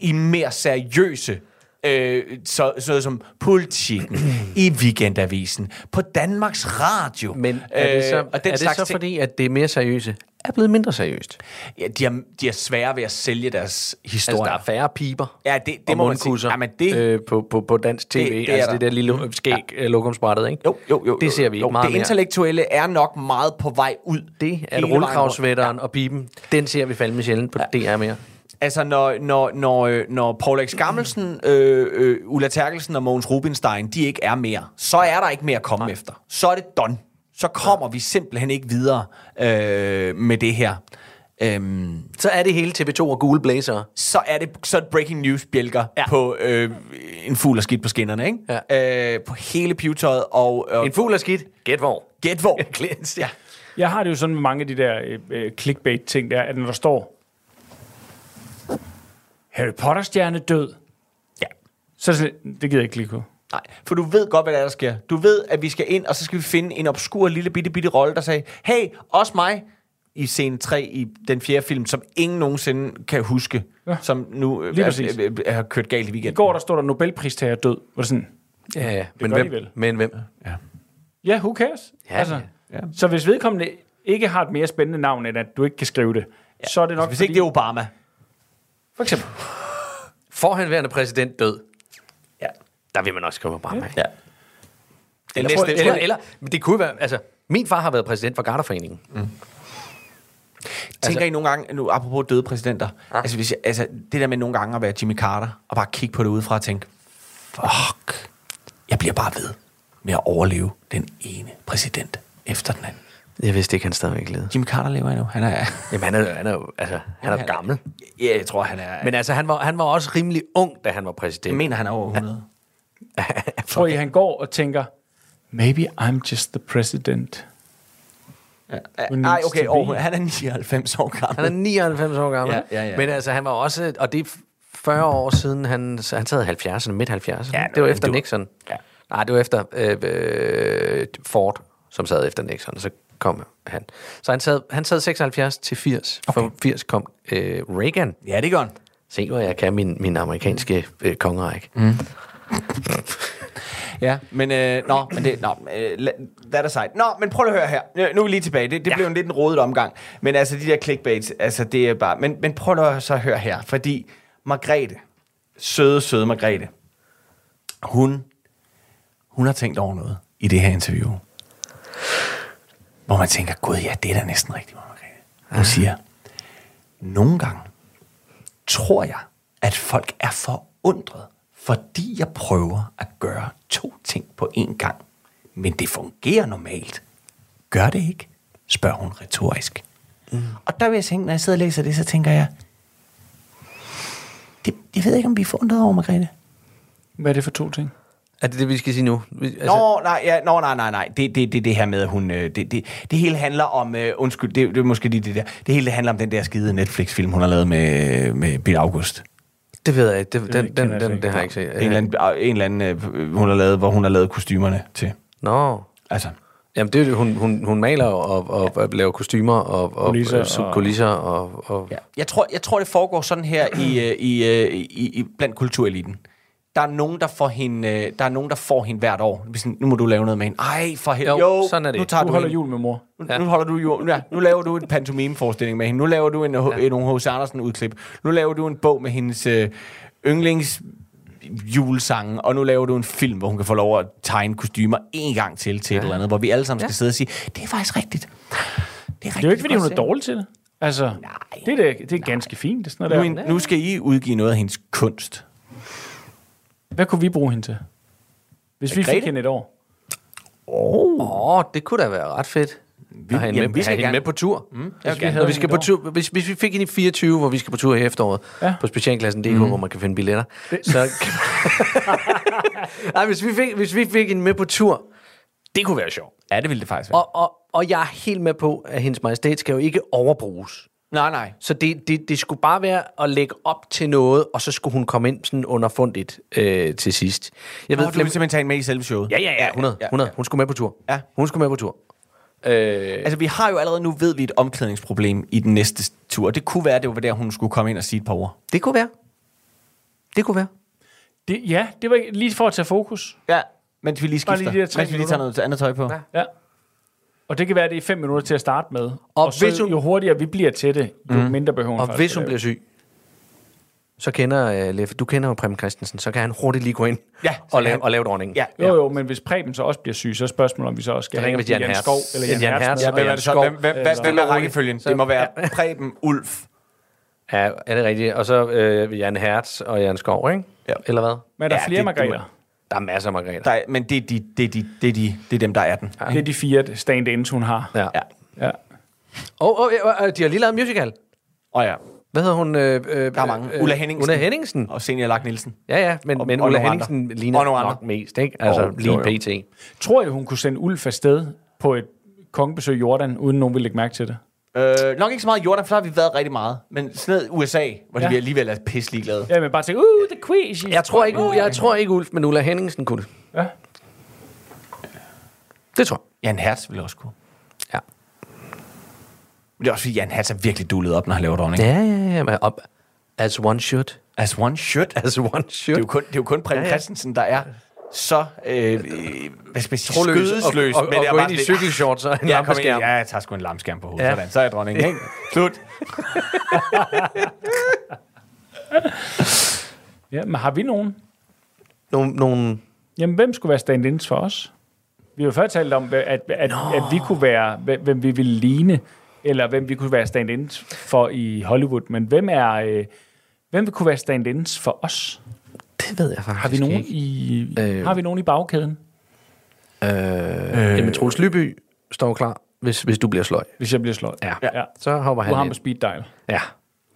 I mere seriøse Øh, så, sådan noget som politikken, i Weekendavisen, på Danmarks Radio.
Men er det så,
Øh,
er det
slags
så
ting.
fordi, at det mere seriøse er blevet mindre seriøst?
Ja, de er, de er svære ved at sælge deres
Altså,
historier.
der er færre piber
Ja, det- det
og
må man sige.
mundkusser
Jamen, det-
øh, på, på, på dansk tv. Det,
det
det
er
altså
der.
det der lille skæg ja. lokumsbrættet, ikke?
jo, jo, jo.
Det ser vi
jo,
ikke meget
Det
mere.
intellektuelle er nok meget på vej ud.
Det, at
hele vejen rundt.
rullekravsvætteren og piben, den ser vi fandme sjældent på ja. DR mere.
Altså, når, når, når, øh, når Paul X. Gammelsen, øh, øh, Ulla Terkelsen og Mogens Rubinstein, de ikke er mere, så er der ikke mere at komme Nej. efter. Så er det done. Så kommer vi simpelthen ikke videre øh, med det her. Øhm,
Så er det hele TV2 og gule blazer.
så er det så er det breaking news bjælker ja. på øh, en fugl og skidt på skinnerne, ikke? Ja. Øh, på hele pivetøjet og... Øh,
En fugl er skidt. Gæt hvor.
Gæt hvor.
Klins, ja.
Jeg har det jo sådan med mange af de der øh, øh, clickbait-ting der, at når der står Harry Potter-stjerne død,
Ja.
så er det sådan, lidt, det gider jeg ikke klikke på.
Nej, for du ved godt, hvad der, er, der sker. Du ved, at vi skal ind, og så skal vi finde en obskur lille bitte bitte rolle, der sagde, hey, også mig i scene 3 i den fjerde film, som ingen nogensinde kan huske, ja. som nu øh,
Lige
er,
præcis.
øh, øh, har kørt galt i
I
weekenden.
går der står der Nobelpristager død, hvor det er sådan,
Ja, ja. Men
gør de
hvem?
vel.
Men hvem?
ja, yeah, who cares?
Ja,
ja. Så hvis vedkommende ikke har et mere spændende navn, end at du ikke kan skrive det, ja. så er det nok
Altså, Hvis ikke det er Obama.
For eksempel.
Forhenværende præsident død. Ja. Der vil man også skrive bare med.
Ja.
Eller,
tror-
eller, eller,
tror-
eller, men det kunne være, altså, min far har været præsident for Garderforeningen.
Tænker altså, I nogle gange, nu apropos døde præsidenter, ah. altså, hvis jeg, altså det der med nogle gange at være Jimmy Carter, og bare kigge på det udefra og tænke, fuck, jeg bliver bare ved med at overleve den ene præsident efter den anden.
Jeg vidste ikke, han stadigvæk levede.
Jimmy Carter lever endnu, han er...
Jamen, han er, jo- han er, jo- altså, han er jo gammel.
Ja, jeg tror, han er... Men
Men altså, han var, han var også rimelig ung, da han var præsident.
jeg mener, han er over 100.
Tror I, han går og tænker, maybe I'm just the president.
Ja.
needs
Nej,
to
okay,
be.
over, han er 99 år gammel.
Han er 99 år gammel.
Ja, ja, ja.
Men altså, han var også, og det er 40 år siden, han, så han sad i 70'erne, midt 70'erne. Ja, det var efter du... Nixon. Ja. Nej, det var efter øh, øh, Ford, som sad efter Nixon, og så kom han. Så han sad, han sad 76 til 80. Okay. Fra 80 kom øh, Reagan.
Ja, det gør han.
Se, hvor jeg kan min, min amerikanske øh, kongerække. Mm.
Ja, men, øh, nå, men det, nå, øh, la- that aside. Nå, men prøv lige at høre her. Øh, Nu er vi lige tilbage. Det, det ja. blev en lidt en rodet omgang. Men altså, de der clickbaits, altså, det er bare... Men, men prøv lige at så høre her, fordi Margrethe, søde, søde Margrethe, hun, hun har tænkt over noget i det her interview. Hvor man tænker, gud ja, det er da næsten rigtigt, hvor Margrethe. Hun siger, nogle gange tror jeg, at folk er forundret, fordi jeg prøver at gøre to ting på én gang. Men det fungerer normalt. Gør det ikke? spørger hun retorisk. Mm. Og der vil jeg tænke, når jeg sidder og læser det, så tænker jeg, det, jeg ved ikke, om vi er forundret over, Margrethe.
Hvad er det for to ting?
Er det det, vi skal sige nu? Vi, altså,
Nå, nej, ja, nå, nej, nej, nej. Det, det, det, det her med, at hun... øh, Det, det, det hele handler om... Øh, undskyld, det, det er måske lige det der. Det hele det handler om den der skide Netflix-film, hun har lavet med, med Bill August.
Det ved jeg ikke. Det, den, den,
kender
den,
jeg
den,
ikke.
det har jeg ikke set.
En eller anden, en eller anden øh, hun har lavet, hvor hun har lavet kostymerne til.
Nå.
Altså,
Jamen, det er jo det. Hun, hun, hun maler og, og, og laver kostymer og, og
Kulisser
kulisser, og,
og-
kulisser og, og ja.
jeg tror, jeg tror, det foregår sådan her i, øh, i, øh, i, i blandt kultureliten. Der er nogen, der får hende, øh, der er nogen, der får hende hvert år. Det er sådan, Nu må du lave noget med hende. Ej, for helvede.
Jo, sådan er det.
Nu tager
Du
du
holder
hende.
jul med mor.
Nu, ja. nu holder du jul. Ja, nu laver du en pantomime-forestilling med hende. Nu laver du en, ja. en H.C. Andersen-udklip. Nu laver du en bog med hendes øh, yndlings julesange, og nu laver du en film, hvor hun kan få lov at tegne kostymer en gang til til ja. et eller andet, hvor vi alle sammen ja. skal sidde og sige, det er faktisk rigtigt. Det er, rigtigt,
Det er jo ikke, fordi hun
godt
er
set."
dårlig til det. Altså,
Nej.
det er, da- det er ganske fint. Det er sådan
Nu,
noget
en,
der.
nu skal I udgive noget af hendes kunst.
Hvad kunne vi bruge hende til? Hvis vi fik
Grete?
hende et år.
Åh, oh, det kunne da være ret fedt. Vi, at have hende,
jamen,
med,
vi
vi
skal
have hende
gerne-
med på tur. Mm,
jeg vil gerne
når
have
vi
hende
skal
et
på
år.
tur hvis, hvis vi fik hende i 24, hvor vi skal på tur i efteråret, ja.
Ja.
på specialklassen DK, mm. hvor man kan finde billetter, så... Nej, hvis vi, fik, hvis vi fik hende med på tur, det kunne være sjovt.
Ja, det ville det faktisk være.
Og, og, og jeg er helt med på, at hendes majestæt skal jo ikke overbruges.
nej, nej.
Så det, det, det skulle bare være at lægge op til noget, og så skulle hun komme ind sådan underfundigt øh, til sidst. Jeg
Nå,
ved, Flemming-
du vil simpelthen tage hende med i selve showet.
Ja, ja, ja, 100,
ja,
100. Hun skulle med på tur.
Ja.
Hun skulle med på tur. Øh,
Altså, vi har jo allerede nu, ved vi, et omklædningsproblem i den næste tur. og Det kunne være, det var der, hun skulle komme ind og sige et par ord.
det kunne være. Det kunne være.
Det, ja, det var ikke- lige for at tage fokus.
Ja, mens vi lige
Bare
skifter.
lige
Lige
de der tre
mens vi lige tager noget andet tøj på. Ja.
Ja. Og det kan være, det er fem minutter til at starte med.
Og
Og, og så,
hvis hun-
jo hurtigere vi bliver til det, jo mm. mindre behøver hun
Og
faktisk
hvis
at
hun
lave.
bliver syg, så kender øh, Leffe, du kender jo Prem Christensen, så kan han hurtigt lige gå ind
Ja, så
og,
kan
lave,
han-
og lave dronningen.
Ja.
Jo, jo, men hvis Preben så også bliver syg, så er spørgsmålet, om vi så også skal
Så ringer vi til
ringe
Jan Hertz.
Skov eller Jan,
Jan
Jan
Hertz.
Hertz.
Ja,
med.
hvem er
Hvem,
det så?
så, hvem, hvem,
Eller-
hvem er rækkefølgen? Det må være Preben Ulf.
ja er det rigtigt? Og så øh, Jan Hertz og Jan Skov, ikke?
Ja.
Eller hvad?
Men er der
Ja,
ja, flere
det-
det,
det må-
Margrether?
Der er masser af Margrethe.
Der er, men det er, de, det, er de, det, er de, det er dem, der er den.
Det er de fire stand-ins, hun har.
Ja.
Ja.
ja.
Ja.
Og, og, og, og de har lige lavet en musical.
Og ja,
Hvad hedder hun? Øh, øh,
der er mange.
øh,
Ulla Henningsen.
Ulla Henningsen.
og Senior Lagt Nielsen.
Ja, ja, men,
Og-
men
og
Ulla
nogle andre.
Henningsen
Og
ligner
nogle andre.
nok mest, ikke? Altså,
Jo,
lige
jo, jo.
pt.
Tror jeg, hun kunne sende Ulf afsted på et kongebesøg i Jordan, uden nogen ville lægge mærke til det?
Øh, nok ikke så meget i Jordan, for der har vi været rigtig meget. Men sådan noget USA, hvor ja.
Ja.
vi alligevel er pisselig glade.
Ja, men bare tænke, uh, the queen. she's
Jeg tror, ikke, Ul- jeg tror ikke Ulf, men Ulla Henningsen kunne det.
Ja.
Det tror jeg.
Jan Hertz ville også kunne.
Ja.
Men det er også fordi, Jan Hertz er virkelig dullet op, når han laver dronning.
Ja, ja, ja. Men op. As one should.
As one should.
As one
Det er
should.
jo kun, det er jo kun Preben
Ja,
ja,
ja.
ja. Christensen, der er så øh, øh, hvad skal man sige, skødesløs.
og, og,
men
og
det er
gå
bare
ind i
sådan lidt-
cykelshorts og en
Ja, kom ind.
lampeskærm.
ja, jeg tager sgu en lampeskærm på hovedet.
Ja.
Ja. Sådan, så er jeg dronning. Ikke? Slut.
Ja, men har vi nogen?
Nogle, nogle
Jamen, hvem skulle være stand-ins for os? Vi har jo før talt om, at, at, at, at vi kunne være, hvem hvem vi ville ligne, eller hvem vi kunne være stand-ins for i Hollywood. Men hvem er... Øh, hvem vil kunne være stand-ins for os?
Det ved jeg faktisk
Har vi nogen
ikke.
i,
Øh.
øh. har vi nogen i bagkæden?
Øh, Jamen, Troels Lyby står klar, hvis, hvis du bliver sløj.
Hvis jeg bliver slået.
Ja.
ja.
Så hopper
Du har
han
ham på
ind.
speed dial.
Ja.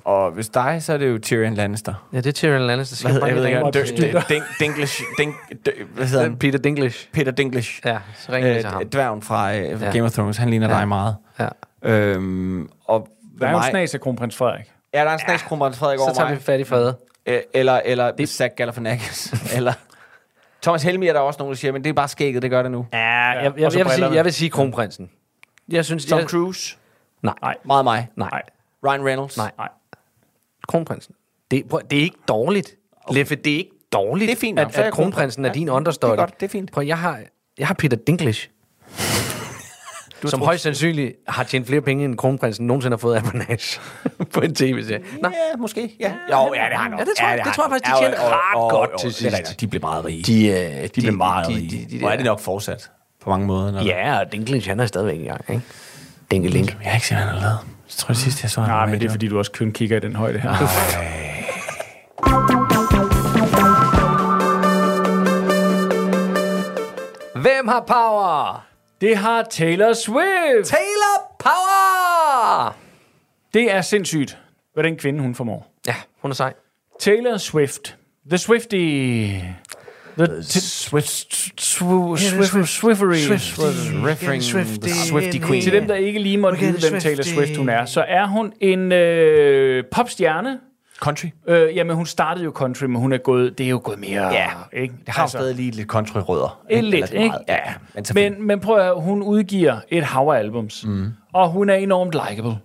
Og hvis dig, så er det jo Tyrion Lannister.
ja, det er Tyrion Lannister.
Hvad hedder jeg ved
ringer
ikke, han-
op på
Dø-
speed
Dø- Dink- Dinklage, Dink, Dø- hvad hedder han?
Peter Dinklage.
Peter Dinklage.
Ja, så ringer vi til ham.
Øh, dværgen fra øh,
Ja.
Game of Thrones, han ligner
Ja.
ja. dig meget.
Ja.
Øhm, og
Der er jo en
mig-
snas af kronprins Frederik.
Ja, der er en snas ja. Frederik
Så
over
tager
mig.
vi fat i fadet.
Øh, Eller, eller det... Zach Galifianakis. eller... Thomas Helmi er der også nogen, der siger, men det er bare skægget, det gør det nu.
Ja, jeg, jeg,
og
jeg,
så
vil sige,
brillerne.
jeg vil sige kronprinsen. Jeg synes,
Tom
jeg,
Cruise.
Nej.
Meget mig.
Nej,
Ryan Reynolds.
Nej.
Nej.
kronprinsen. Det, prøv, det er ikke dårligt. Leffe, det er ikke dårligt,
Det er fint nok.
at,
Så er
at
jeg
kronprinsen er din understøtter.
det er godt, det er fint.
Prøv, jeg har, jeg har Peter Dinklage. Du som højst sandsynligt har tjent flere penge, end kronprinsen nogensinde har fået af Banage på en tv-serie. Nå,
Ja, måske. Ja. Jo, ja, det har han
Ja, det tror jeg- det tror jeg faktisk, de tjente ret godt til sidst.
De blev meget rige.
de, øh, de,
blev meget
de,
rige.
de, de,
Og er det nok fortsat på mange måder. Når
Ja, og Dinklage, han er stadigvæk i gang, ikke? Dinkelink.
Jeg har ikke set, hvad han har lavet. Jeg tror, det sidste, jeg så ham.
Nej, Ah, men det er, fordi du også kun kigger i den højde her.
Hvem har power?
Det har Taylor Swift!
Taylor Power!
Det er sindssygt, hvad den kvinde hun formår.
Ja, hun er sej.
Taylor Swift. The Swifty. The
Swift, Swift,
Swiffery.
Swifting,
Swifty.
Swifty Queen.
Til dem, der ikke lige måtte
Look at
vide,
the
hvem Taylor
Swifty.
Swift hun er, så er hun en øh, popstjerne.
Country.
Øh, jamen, hun startede jo country, men hun er gået, det er jo gået mere...
Ja,
ikke?
Det har altså, stadig lige lidt country-rødder.
Et lidt,
Eller
ikke?
meget. Ja, men, men
Men, men prøv at høre, hun udgiver et hav af albums, mm. og hun er enormt likable.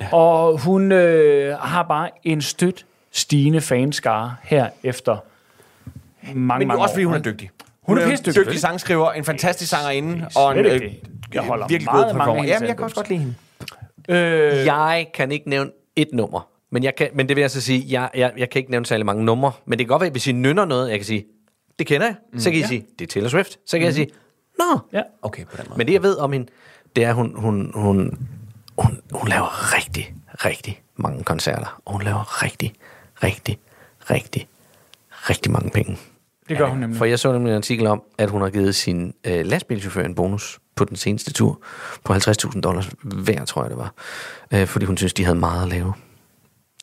Ja. Og hun øh, har bare en stødt stigende fanskare her efter mange,
men
mange
jo også
år,
fordi hun er
ikke?
dygtig.
Hun er
en
pissedygtig.
dygtig sangskriver, en fantastisk sangerinde, og en
slet
øh,
ikke det. Jeg holder
virkelig
meget
god
af mange af
performer.
hendes
Jamen, jeg kan
albums.
også godt lide hende.
Øh,
Jeg kan ikke nævne et nummer, men, jeg kan, men det vil jeg så sige, jeg, jeg, jeg kan ikke nævne særlig mange numre, men det kan godt være, at hvis I nynner noget, jeg kan sige, det kender jeg, så kan I sige, det er Taylor Swift, så kan jeg sige, nå.
ja.
Mm. Okay, på den måde.
Men det jeg ved om hende, det er, at hun, hun, hun, hun, hun laver rigtig, rigtig mange koncerter, og hun laver rigtig, rigtig, rigtig, rigtig mange penge.
Det gør hun nemlig.
For jeg så nemlig en artikel om, at hun har givet sin øh, lastbilchauffør en bonus på den seneste tur på 50.000 dollars hver, tror jeg det var. Øh, fordi hun synes, de havde meget at lave.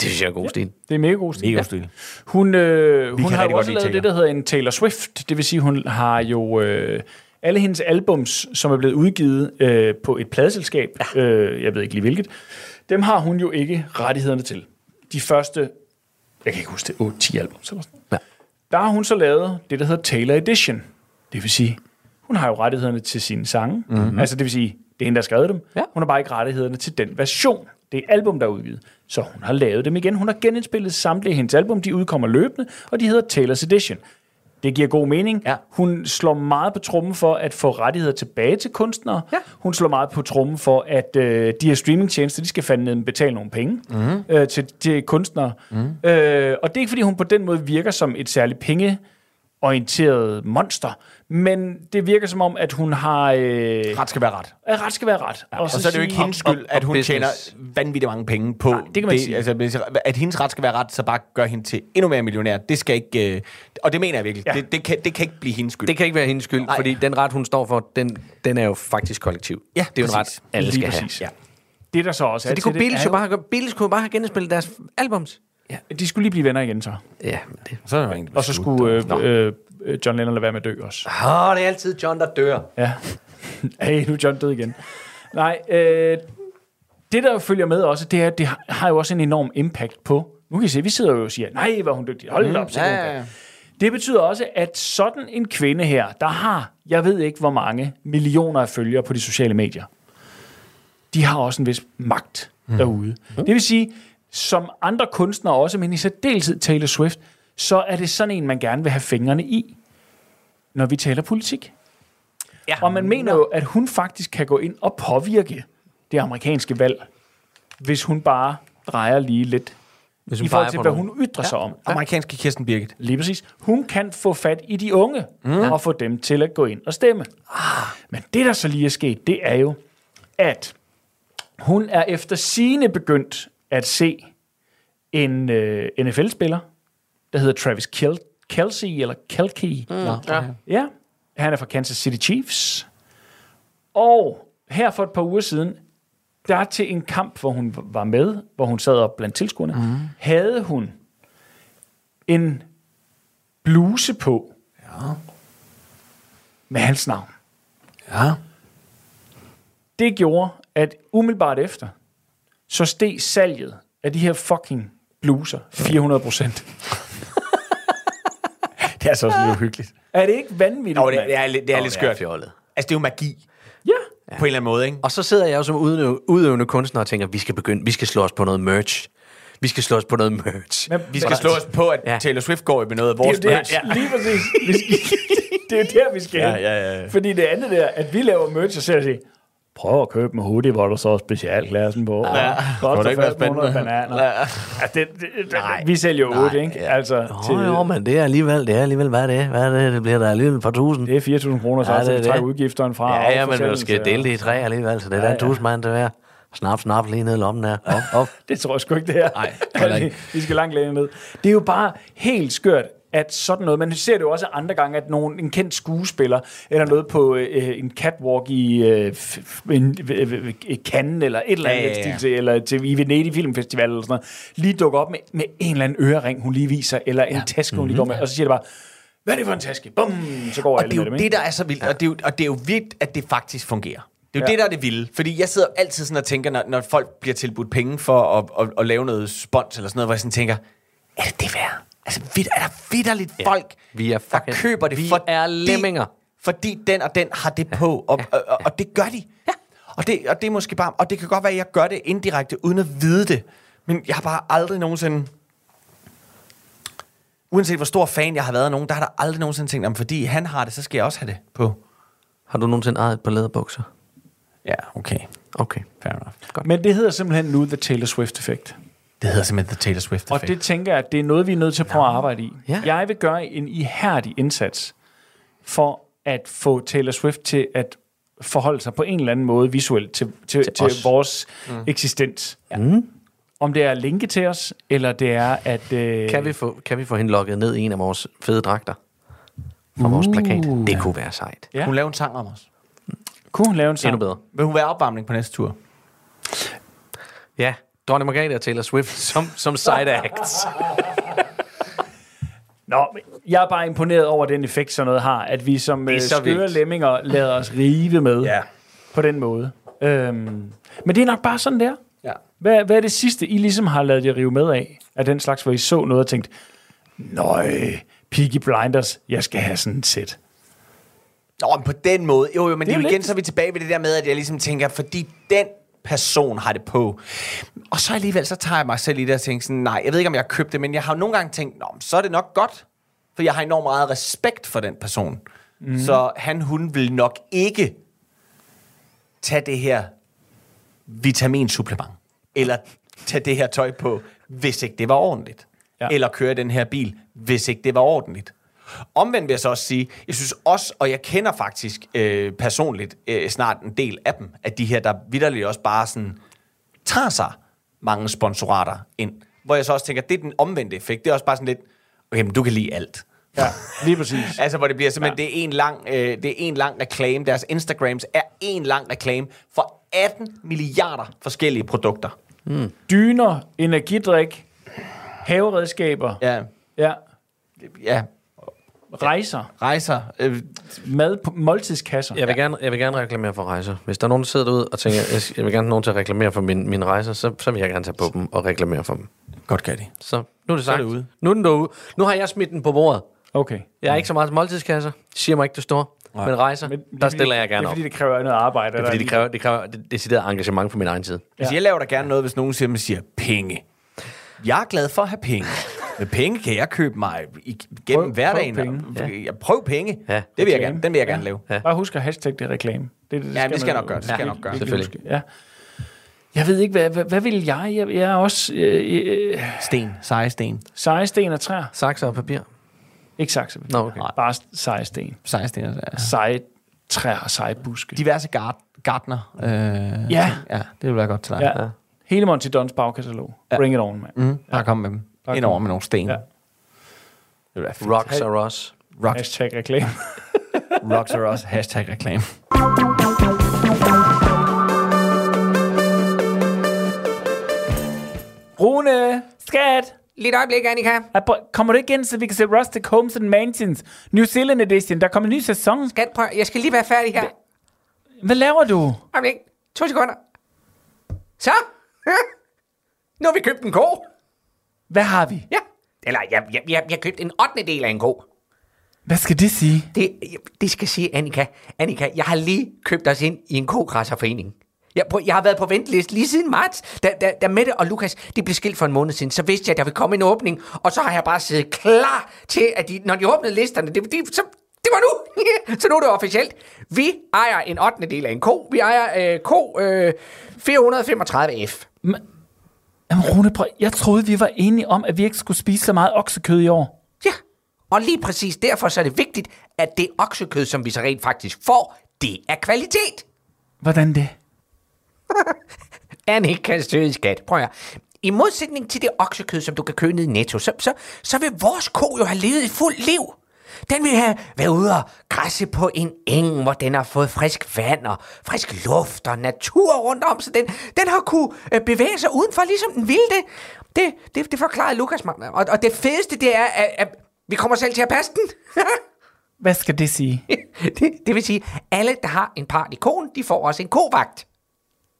Det synes jeg er god ja. stil.
Det er mega god stil.
Mega god stil.
Hun, øh, hun har
kan rigtig
jo
godt
også
lide
lavet
Taylor.
det, der hedder en Taylor Swift. Det vil sige, hun har jo øh, alle hendes albums, som er blevet udgivet øh, på et pladeselskab, øh, jeg ved ikke lige hvilket, dem har hun jo ikke rettighederne til. De første, jeg kan ikke huske det, 8-10 albums eller sådan
Ja.
Der har hun så lavet det, der hedder Taylor Edition. Det vil sige, hun har jo rettighederne til sine sange. Mm-hmm. Altså det vil sige, det er hende, der har skrevet dem.
Ja.
Hun har bare ikke rettighederne til den version. Det er album, der er udgivet. Så hun har lavet dem igen. Hun har genindspillet samtlige hendes album. De udkommer løbende, og de hedder Taylor's Edition. Det giver god mening.
Ja.
Hun slår meget på trummen for at få rettigheder tilbage til kunstnere. Ja. Hun slår meget på trummen for, at øh, de her streamingtjenester, de skal fandme betale nogle penge mm. øh, til, til kunstnere. Mm. Øh, og det er ikke, fordi hun på den måde virker som et særligt pengeorienteret monster, men det virker som om, at hun har... Øh, ret.
Ret skal være ret.
At ret skal være ret. Ja,
Og så er det jo ikke hendes skyld,
og-
at
og
hun tjener
business.
vanvittigt mange penge på
Nej, det kan man ikke sige.
Altså, hvis- at hendes ret skal være ret, så bare gør hende til endnu mere millionær. Det skal ikke... Øh, og det mener jeg virkelig. Ja.
Ja.
Det, det, kan, det kan ikke blive hendes skyld.
Det kan ikke være hendes skyld, Nej.
Nej.
fordi den ret, hun står for, den, den er jo faktisk kollektiv.
Ja,
det er jo en ret,
præcis.
alle
Lige
skal
præcis.
have.
Det der så også
Så
er
det
til
kunne Beatles
er
jo bare have, Beatles kunne jo bare have genspillet deres albums.
jo- De skulle lige blive venner igen så.
Ja, men det.
Så er der egentlig
Og så skulle øh, øh, øh, John Lennon lade være med at dø også.
Åh, det er altid John, der dør.
Ja. Hey, nu er John død igen. Nej, øh, det der jo følger med også, det er, at det har- har jo også en enorm impact på... Nu kan I se, vi sidder jo og siger, nej, hvor er hun dygtig. Hold da op, så Mm. ja, ja. Det betyder også, at sådan en kvinde her, der har, jeg ved ikke hvor mange millioner af følgere på de sociale medier, de har også en vis magt mm. derude. Det vil sige, som andre kunstnere også, men i særdeleshed Taylor Swift, så er det sådan en, man gerne vil have fingrene i, når vi taler politik. Ja. Og man mener jo, at hun faktisk kan gå ind og påvirke det amerikanske valg, hvis hun bare drejer lige lidt
Hvis
i forhold til, hvad hun ytrer sig om.
Amerikanske Kirsten Birgit.
Lige præcis. Hun kan få fat i de unge mm. og få dem til at gå ind og stemme. Ah. Men det, der så lige er sket, det er jo, at hun er efter sine begyndt at se en øh, NFL-spiller, der hedder Travis Kel- Kelsey, eller Kelky. Mm.
Ja.
Ja, han er fra Kansas City Chiefs. Og her for et par uger siden, der er til en kamp, hvor hun var med, hvor hun sad op blandt tilskuerne, mm. havde hun en bluse på ja. med hans navn.
Ja.
Det gjorde, at umiddelbart efter, så steg salget af de her fucking bluser 400 procent.
Det er altså også lidt uhyggeligt.
Er det ikke vanvittigt?
Nå, det,
mand?
det er, lidt- det er lidt
Det er
skørt. Altså,
fjollet.
det er jo magi
Ja.
ja. på en eller anden måde, ikke?
Og så sidder jeg jo som udøv- udøvende kunstner og tænker, vi skal begynde, vi skal slå os på noget merch. Vi skal slå os på noget merch.
Men-
Vi skal slå os på, at
Ja.
ja. Taylor Swift går med noget af vores
Det er jo
merch.
det, ja. lige præcis. Vi skal, det er jo der, vi skal
Ja,
hen.
ja, ja, ja.
Fordi det andet der, at vi laver merch, og selv siger, prøv at købe en hoodie, hvor der så er specialklassen på. Ja.
Kunne det ikke være spændende?
Bananer. Ja. Altså, det, det, det, vi sælger jo 8, ikke? Altså, til,
Åh, jo, men det er alligevel, det er alligevel, hvad er det? Hvad er det? Det bliver der alligevel et par tusind.
det er 4.000 kroner, så
Ja,
ja,
det er
vi trækker
det.
udgifterne fra.
Ja,
og
ja, men du
forsendelse,
skal dele det i tre alligevel, så det er ja, der en
ja.
tusmand, det er. Snap, snap, lige ned i lommen der. Op, op.
Det tror jeg sgu ikke, det her.
Nej, heller ikke.
Vi skal langt længere ned. Det er jo bare helt skørt, at sådan noget, man ser det jo også andre gange, at nogen, en kendt skuespiller, eller noget på øh, en catwalk i øh, f- f- en, øh, øh, øh, Cannes, eller et eller andet
Ja,
ja,
ja, ja.
Stil til, eller til, i Venedig Filmfestival, eller sådan noget, lige dukker op med, med en eller anden ørering, hun lige viser, eller en ja. Mhm. taske, hun lige går med, og så siger det bare, hvad er det for en taske? Bum, så går
Og
alle
det er
med
jo
dem,
det,
ikke?
der er så vildt, og det er jo, og det er jo vildt, at det faktisk fungerer. Det er jo
Ja.
ja. det, der er det vilde. Fordi jeg sidder altid sådan og tænker, når, når folk bliver tilbudt penge for at, at, at lave noget spons eller sådan noget, hvor jeg sådan tænker, er det det værd? Altså, vidt, er der vidderligt ja. folk,
Vi er
der
fucking-
køber det,
vi er lemminger.
fordi den og den har det på, og, og, og, og det gør de. Ja. Og, det, og det er måske bare, og det kan godt være, at jeg gør det indirekte, uden at vide det, men jeg har bare aldrig nogensinde uanset hvor stor fan jeg har været af nogen, der har der aldrig nogensinde tænkt, om fordi han har det, så skal jeg også have det på.
Har du nogensinde ejet et par læderbukser?
Ja, okay.
Okay.
Fair enough.
Men det hedder simpelthen nu The Taylor Swift-effekt.
Det hedder simpelthen The Taylor Swift
Og det tænker jeg, at det er noget, vi er nødt til at prøve at arbejde i.
Ja.
Jeg vil gøre en ihærdig indsats for at få Taylor Swift til at forholde sig på en eller anden måde visuelt til, til, til, til
os.
vores mm. eksistens. Ja. Om det er at linke til os, eller det er at... Øh,
Kan vi, få, kan vi få hende lukket ned i en af vores fede dragter? Fra vores plakat? Det kunne være sejt.
Ja.
Hun laver en sang om os.
Kunne hun lave en sang?
Endnu bedre.
Vil hun være opvarmning på næste tur?
Ja, Dronning Margrethe og Taylor Swift som, som side acts.
Nå, men jeg er bare imponeret over den effekt, sådan noget har. At vi som øh,
så
skøre
vildt.
lemminger lader os rive med på den måde. Øhm, men det er nok bare sådan, der.
ja.
Hvad, hvad er det sidste, I ligesom har lavet jer rive med af? Af den slags, hvor I så noget og tænkte, Nøj, Peaky Blinders, jeg skal have sådan et sæt.
Nå, men på den måde. Jo, jo, men
Det
det
er
er jo
jo
igen,
lidt-
så er vi tilbage ved det der med, at jeg ligesom tænker, fordi den person har det på. Og så alligevel, så tager jeg mig selv i det og tænker sådan, nej, jeg ved ikke, om jeg har købt det, men jeg har jo nogle gange tænkt, Nå, men så er det nok godt, for jeg har enormt meget respekt for den person. Mm. Så han, hun vil nok ikke tage det her vitaminsupplement, eller tage det her tøj på, hvis ikke det var ordentligt.
Ja.
Ja. Eller køre den her bil, hvis ikke det var ordentligt. Omvendt vil jeg så også sige, jeg synes også, og jeg kender faktisk øh, personligt øh, snart en del af dem, at de her, der vidderligt også bare sådan tager sig mange sponsorater ind. Hvor jeg så også tænker, det er den omvendte effekt. Det er også bare sådan lidt, okay, men du kan lide alt.
Ja, lige præcis.
Altså, hvor det bliver simpelthen, ja. det, er en lang, øh, det er en lang reklame. Deres Instagrams er en lang reklame for 18 milliarder forskellige produkter.
Dyner, energidrik, haveredskaber, ja.
Ja,
Ja,
ja.
rejser,
rejser. Øh,
mad, på- måltidskasser.
Jeg vil, gerne, jeg vil gerne reklamere for rejser. Hvis der er nogen, der sidder derude og tænker, jeg, jeg vil gerne have nogen til at reklamere for min, mine rejser, så, så vil jeg gerne tage på dem og reklamere for dem.
godt kan de.
Så nu er det sagt.
det ude.
Nu er den derude. Nu har jeg smidt den på bordet.
Okay.
Jeg er ikke så meget til måltidskasser. Siger mig ikke, det står. Men rejser,
det
der
er
stiller
fordi,
jeg gerne
Det er,
op.
fordi det kræver noget arbejde.
Det er, fordi det kræver, det kræver det decideret engagement på min egen side.
Altså, jeg laver da gerne noget, hvis nogen siger, man siger penge. Jeg er glad for at have penge. Med penge kan jeg købe mig igennem
Prøv-
hverdagen.
prøv
Prøv penge. Ja. Prøv penge.
Ja.
Det vil jeg gerne. Den vil jeg gerne lave. Ja,
Bare husk at hashtag det reklame. Det, det,
ja men det skal jeg
man
nok gøre. Det skal jeg nok gøre.
Selvfølgelig.
Ja. Jeg ved ikke, hvad, hvad, hvad vil jeg? jeg? Jeg er også øh, øh,
Sten. Seje sten.
seje sten og træer.
Sakser og papir.
Ikke sakse.
Nå, okay.
Bare seje sten.
Seje sten. Ja.
Seje træer og seje buske.
Diverse gard, gardner. Øh,
Ja.
ja, det vil være godt til dig. Ja.
ja. Hele Monty Dons bagkatalog. Ja. Bring it on, mand. Mm.
Mm, bare kom med dem.
Bare
Ind
kom.
over med nogle sten.
Ja.
Ja. Det er
Rocks are us.
Rock,
Hashtag reklame.
rocks are us. Hashtag reklame.
Rune, skat!
Lige et øjeblik, Annika.
Ah, prøv- Kommer du ikke ind, så vi kan se Rustic Homes and Mansions New Zealand Edition? Der kommer en ny sæson.
Skat, prøv. Jeg skal lige være færdig her.
Hvad laver du?
Øjeblik. To sekunder. Så. nu har vi købt en ko.
Hvad har vi?
Ja. Eller jeg, jeg, jeg, jeg købte en 8. del af en ko.
Hvad skal det sige?
Det, det skal sige, Annika. Annika, jeg har lige købt os ind i en kogræsserforening. Jeg, prøv, jeg har været på venteliste lige siden marts, da, da, da Mette og Lukas de blev skilt for en måned siden. Så vidste jeg, at der ville komme en åbning, og så har jeg bare siddet klar til, at de, når de åbnede listerne, det, det, så, det var nu. så nu er det officielt. Vi ejer en 8. del af en ko. Vi ejer øh, ko øh, 435F.
Jamen Rune, prøv, jeg troede, vi var enige om, at vi ikke skulle spise så meget oksekød i år.
Ja, og lige præcis derfor så er det vigtigt, at det oksekød, som vi så rent faktisk får, det er kvalitet.
Hvordan det?
Annika søde skat, prøv at høre. I modsætning til det oksekød, som du kan købe nede i Netto, så, så, så vil vores ko jo have levet et fuldt liv. Den vil have været ude og græsse på en eng, hvor den har fået frisk vand og frisk luft og natur rundt om, så den, den har kunne øh, bevæge sig udenfor, ligesom den ville det. Det, det, det forklarede Lukas mig. Og, og det fedeste, det er, at, at vi kommer selv til at passe den.
Hvad skal det sige?
det, det vil sige, alle, der har en part i koen, de får også en kovagt.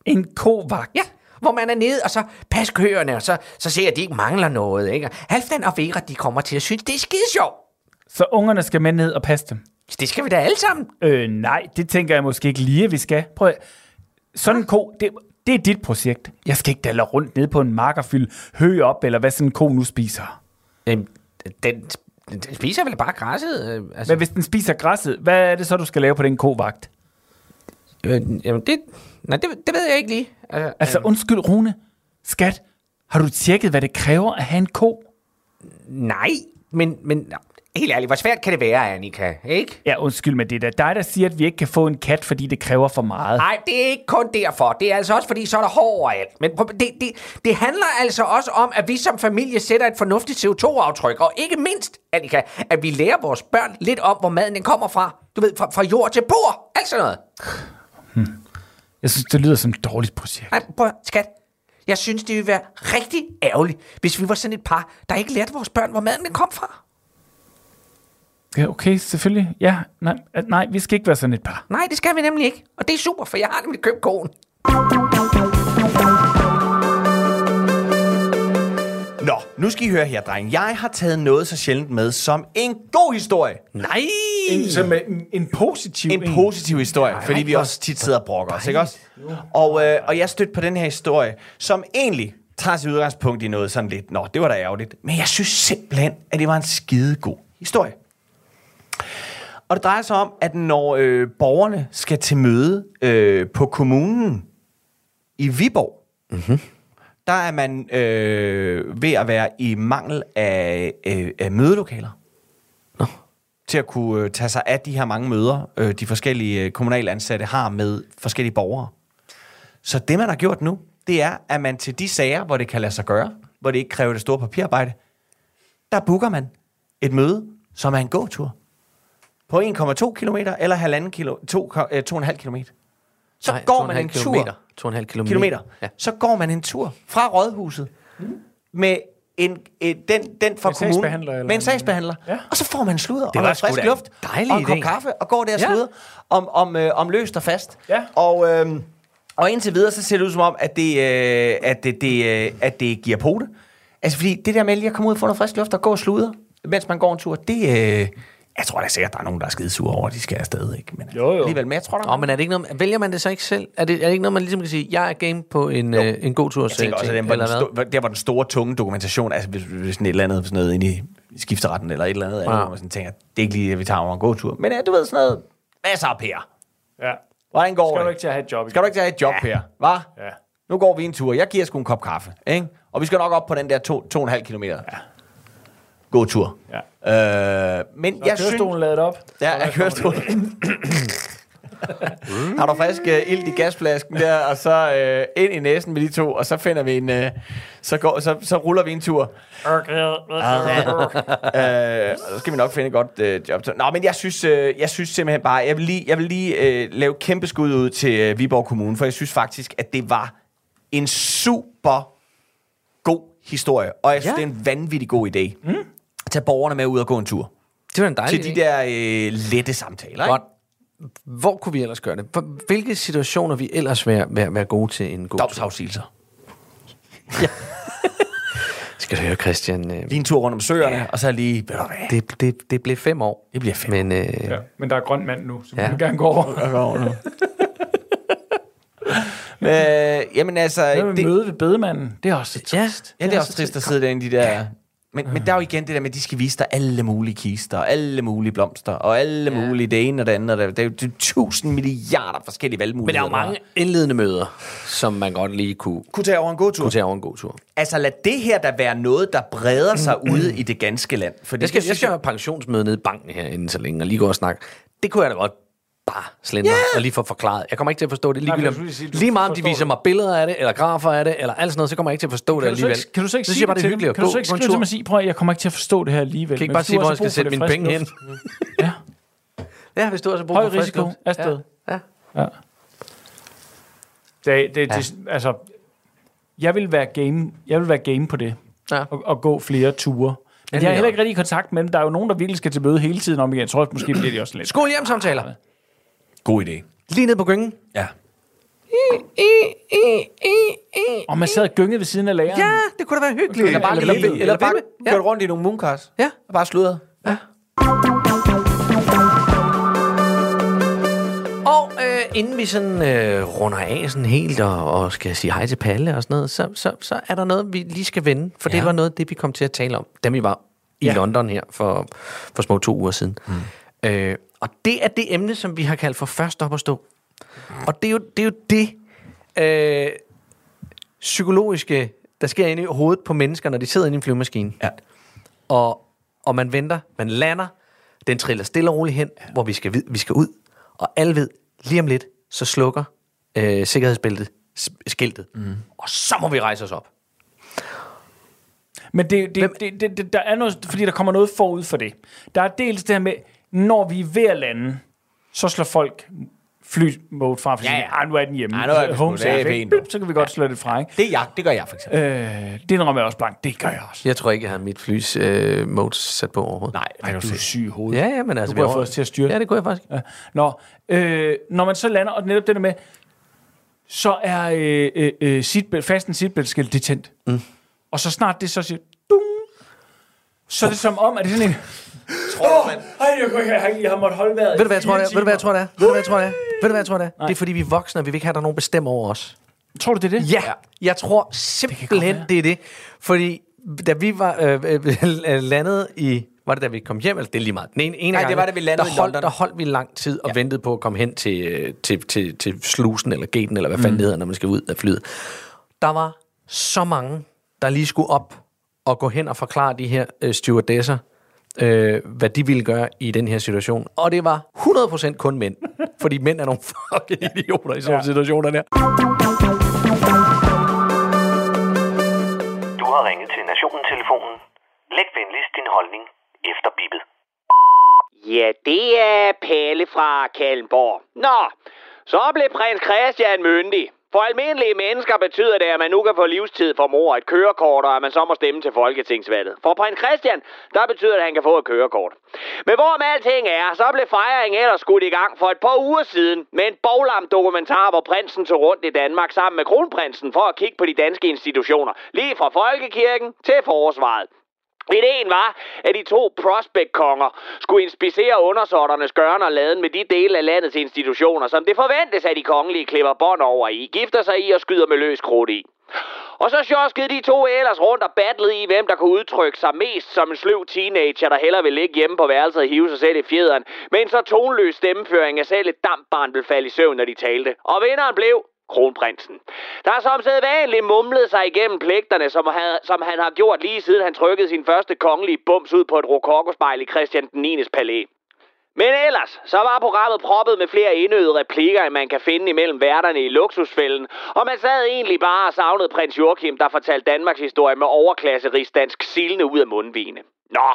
En kovagt.
Ja, hvor man er nede, og så pas køerne, og så, så ser jeg, at de ikke mangler noget. Ikke? Og Halfdan og Vera, de kommer til at synes, det er skide sjovt.
Så ungerne skal med ned og passe dem.
Det skal vi da alle sammen.
Øh, nej, det tænker jeg måske ikke lige, at vi skal. Prøv at... Sådan en ko, det, det er dit projekt. Jeg skal ikke dalle rundt ned på en mark og fylde hø op, eller hvad sådan en ko nu spiser.
Jamen, den, den spiser vel bare græsset? Øh, altså.
Men hvis den spiser græsset, hvad er det så, du skal lave på den kovagt?
øh, jamen, det, nej, det, det ved jeg ikke lige. Altså,
Altså, undskyld, Rune. Skat, har du tjekket, hvad det kræver at have en ko?
nej, men, men helt ærligt, hvor svært kan det være, Annika? Ikke?
Ja, undskyld, men det er da dig, der siger, at vi ikke kan få en kat, fordi det kræver for meget.
Nej, det er ikke kun derfor. Det er altså også, fordi så er der hår overalt. Men prøv- det, det, det handler altså også om, at vi som familie sætter et fornuftigt CO2-aftryk. Og ikke mindst, Annika, at vi lærer vores børn lidt om, hvor maden den kommer fra. Du ved, fra, fra jord til bord. Alt sådan noget.
Jeg synes, det lyder som et dårligt projekt.
Ej, prøv, at- skat. Jeg synes, det ville være rigtig ærgerligt, hvis vi var sådan et par, der ikke lærte vores børn, hvor maden den kom fra.
Ja, okay, selvfølgelig. Ja, nej, øh, nej, vi skal ikke være sådan et par.
Nej, det skal vi nemlig ikke. Og det er super, for jeg har nemlig købt konen.
Nå, nu skal I høre her, dreng. Jeg har taget noget så sjældent med som en god historie.
Nej!
En, som en, en positiv
En positiv historie, Ej, fordi vi også tit sidder og brokker os, ikke også? Og, øh, og jeg stødte på den her historie, som egentlig tager sit udgangspunkt i noget sådan lidt, nå, det var da ærgerligt. Men jeg synes simpelthen, at det var en skidegod historie. Og det drejer sig om, at når øh, borgerne skal til møde øh, på kommunen i Viborg,
Mhm.
der er man øh, ved at være i mangel af, øh, af mødelokaler. Nå. Til at kunne øh, tage sig af de her mange møder, øh, de forskellige øh, kommunale ansatte har med forskellige borgere. Så det, man har gjort nu, det er, at man til de sager, hvor det kan lade sig gøre, hvor det ikke kræver det store papirarbejde, der booker man et møde, som er en gåtur på 1,2 km eller 1,5 kilo, øh, 2, 2,5 km. Så
Nej, to
går
og
man
halv
en tur
kilometer. To og en halv kilometer.
kilometer.
Ja.
Ja. Så går man en tur fra rådhuset med en, øh, den, den fra
Med en
kommunen.
sagsbehandler eller
med en
en-
sagsbehandler.
Ja.
Og så får man en sludder
var
og noget
sgu da
frisk
en
luft
dejlig
og en kop
idé.
kaffe og går der og
Ja.
sluder om, om, øh, om løst og fast.
Ja.
Og, øh, og indtil videre, så ser det ud som om, at det, øh, at det, det, øh, at det giver pote. Altså fordi det der med lige at komme ud og få noget frisk luft og gå og sludre, mens man går en tur, det... Øh, jeg tror da sikkert, der er nogen, der er skidesure over, at de skal afsted, ikke? Men
Jo, jo.
alligevel, men jeg tror, der er
Nå, men er det ikke noget, vælger man det så ikke selv? Er det, er det ikke noget, man ligesom kan sige, jeg er game på en, øh, en god tur?
Jeg tænker også, at den, hvor den sto- der var den store, tunge dokumentation, altså hvis, hvis sådan et eller andet sådan noget inde i skifteretten eller et eller andet, ja. hvor man sådan tænker, det er ikke lige, at vi tager over en god tur. Men ja, du ved sådan noget, hvad så, Per?
Ja.
Hvordan går
Skal
det?
du ikke til at have et job?
Skal du ikke tage et job, ja. Per? Hva?
Ja.
Nu går vi en tur. Jeg giver sgu en kop kaffe. Ikke? Og vi skal nok op på den der 2,5 km. Ja. God tur. Ja. Øh, men
Jeg
jeg
kørestolen
synes...
synes... ladet op.
Ja, jeg kørestolen. Har du frisk uh, ild i gasflasken der, og så uh, ind i næsen med de to, og så finder vi en, uh, så, går, så, så ruller vi en tur. Øh, og så skal vi nok finde et godt øh, job. til- Nå, men jeg synes, øh, jeg synes simpelthen bare, jeg vil lige, jeg vil lige øh, lave kæmpe skud ud til øh, Viborg Kommune, for jeg synes faktisk, at det var en super god historie, og jeg synes,
Ja.
ja. det er en vanvittig god idé. Mm. At tage borgerne med ud og gå en tur.
Det var en dejlig
Til de
idé.
der øh, lette samtaler. Ikke?
Godt. Hvor kunne vi ellers gøre det? Hvor- Hvilke situationer vi ellers være, være, være gode til en god tur?
Domsafsigelser.
Skal du høre, Christian? Øh,
Lige en tur rundt om søerne, ja. og så lige... Ved du hvad?
det, det, det blev fem år.
Det bliver fedt.
Men øh, ja.
Ja. Men der er grøn mand nu, så vi
Ja.
ja. gerne gå over.
Øh, jamen altså...
Hvad med
det,
møde ved bedemanden? Det er også lidt trist.
ja, det er også trist at sidde derinde i de der... Men, men der er jo igen det der med, at de skal vise dig alle mulige kister, og alle mulige blomster, og alle ja. mulige det ene og det andet. og det- Der er jo det er tusind milliarder forskellige
Men der
valgmuligheder.
er jo mange indledende møder, som man godt lige kunne,
Kunne tage over en god tur.
kunne tage over en god tur.
Altså lad det her da være noget, der breder sig ude i det ganske land. Fordi
Jeg skal,
det
jeg
synes
skal have pensionsmøde nede i banken her inden så længe, og lige gå og snakke. Det kunne jeg da godt bare slendre yeah. og lige få forklaret. Jeg kommer ikke til at forstå det
men
ligegyldigt.
jeg skulle lige sige,
Lige,
du
lige meget om de
forstår
viser
det.
mig billeder af det, eller grafer af det, eller alt sådan noget, så kommer jeg ikke til at forstå det
Kan du, så
alligevel.
ikke, kan du så ikke
så
sige
jeg bare, det er
til
hyggeligt
dem?
at
Kan du
gå
så ikke
på en
skrive til
tur.
mig og sige, prøv at, jeg kommer ikke til at forstå det her alligevel.
Kan ikke
men
bare
hvis du
sige, hvor
også
jeg
har
skal
brug for
sætte
lidt
mine
frisk
penge hen.
luft. Ja,
Ja, hvis du også bruger
høj risiko. Afsted.
Ja. ja.
Det, det, det, altså, jeg vil være game, jeg vil være game på det.
Ja.
Og, og gå flere ture. Men
vil
jeg er
jeg
heller ikke rigtig i kontakt med dem. Der er jo nogen, der virkelig skal til møde hele tiden om igen. Jeg tror også, måske bliver de også lidt.
Skål hjem samtaler.
jeg- God idé.
Lige ned på gyngen.
Ja.
Og man sad og gyngede ved siden af læreren.
Ja, det kunne da være hyggeligt.
Eller bare
Eller,
lige-
eller, eller bare
Ja.
kørt rundt i nogle mooncars.
Ja.
Og bare sludret.
Og øh, inden vi sådan øh, runder af sådan helt og, og skal sige hej til Palle og sådan noget, så, så, så er der noget, vi lige skal vende. For ja. det var noget af det, vi kom til at tale om, da vi var i ja. London her for, for små to uger siden. Mm. Øh, og det er det emne, som vi har kaldt for først op at stå. Og det er jo det, er jo det øh, psykologiske, der sker inde i hovedet på mennesker, når de sidder inde i en flyvemaskine. Ja. Og, og man venter, man lander, den triller stille og roligt hen, ja. hvor vi skal, vid- vi skal ud. Og alle ved, lige om lidt, så slukker øh, sikkerhedsbæltet s- skiltet. Mm. Og så må vi rejse os op.
Men det, det, det, det, det, der er noget, fordi der kommer noget forud for det. Der er dels det her med, når vi er ved at lande, så slår folk flymode fra, fordi
Ja,
ja,
ja.
ja. nu er den hjemme.
Ej, nu er vi sgu-
Home
det er
safe,
fint,
ikke? Blip,
dog.
så kan vi godt slå det fra, ikke?
Det er jeg. Det gør jeg for eksempel.
Øh, det indrømmer jeg også blankt. Det gør jeg også.
Jeg tror ikke, jeg har mit flys øh, mode sat på overhovedet.
Nej,
Ej, du er syg i hovedet.
Ja, ja, men altså...
Du kunne
vi
have fået
over-
os til at styre.
Ja, det kunne jeg faktisk.
Ja. Nå, øh, når man så lander, og netop det der med, så er øh, øh, øh, seatbelt, fasten seatbeltskilt, det er tændt. Mm. Og så snart det så siger, dung, så er det som om, at det er sådan en... Åh, oh, jeg, kunne ikke- jeg, har ikke- jeg har måttet holde vejret
Ved du, hvad jeg tror, det er? Ved du, hvad jeg tror, det er? Ved du, hvad jeg tror, det er? Ved du, hvad jeg tror, det er? Det er, fordi vi er voksne, og vi vil ikke have, at der er nogen bestemmer over os.
Tror du, det er det?
Ja, jeg tror simpelthen, det, det er det. Fordi da vi var øh, øh, landet i... Var det da vi kom hjem? Eller det er lige meget. Den ene, ene
Nej, det
gang,
var, da vi landede
der
i
holdt,
London.
Der holdt vi lang tid og ja. ventede på at komme hen til, øh, til, til, til slusen eller gaten, eller hvad
Mm.
fanden det hedder, når man skal ud af flyet. Der var så mange, der lige skulle op og gå hen og forklare de her øh, stewardesser, øh, hvad de ville gøre i den her situation. Og det var 100% kun mænd. fordi mænd er nogle fucking idioter i sådan ja. situationer der.
Du har ringet til Nationen-telefonen. Læg venligst din holdning efter bippet. Ja, det er Pelle fra Kalmborg. Nå, så blev prins Christian myndig. For almindelige mennesker betyder det, at man nu kan få livstid for mor, et kørekort, og at man så må stemme til folketingsvalget. For prins Christian, der betyder det, at han kan få et kørekort. Men hvorom alting er, så blev fejringen ellers skudt i gang for et par uger siden med en boglam dokumentar, hvor prinsen tog rundt i Danmark sammen med kronprinsen for at kigge på de danske institutioner. Lige fra folkekirken til forsvaret. Ideen var, at de to prospect-konger skulle inspicere undersorternes gørn og laden med de dele af landets institutioner, som det forventes, at de kongelige klipper bånd over i, gifter sig i og skyder med løs krudt i. Og så sjoskede de to ellers rundt og battlede i, hvem der kunne udtrykke sig mest som en sløv teenager, der hellere vil ligge hjemme på værelset og hive sig selv i fjederen, men så tonløs stemmeføring, at selv et dampbarn blev falde i søvn, når de talte. Og vinderen blev kronprinsen. Der er som sædvanligt mumlet sig igennem pligterne, som han, som han har gjort lige siden han trykkede sin første kongelige bums ud på et rokokospejl i Christian den 9. palæ. Men ellers, så var programmet proppet med flere indøde replikker, end man kan finde imellem værterne i luksusfælden, og man sad egentlig bare og savnede prins Joachim, der fortalte Danmarks historie med overklasserigsdansk silende ud af mundvigene. Nå,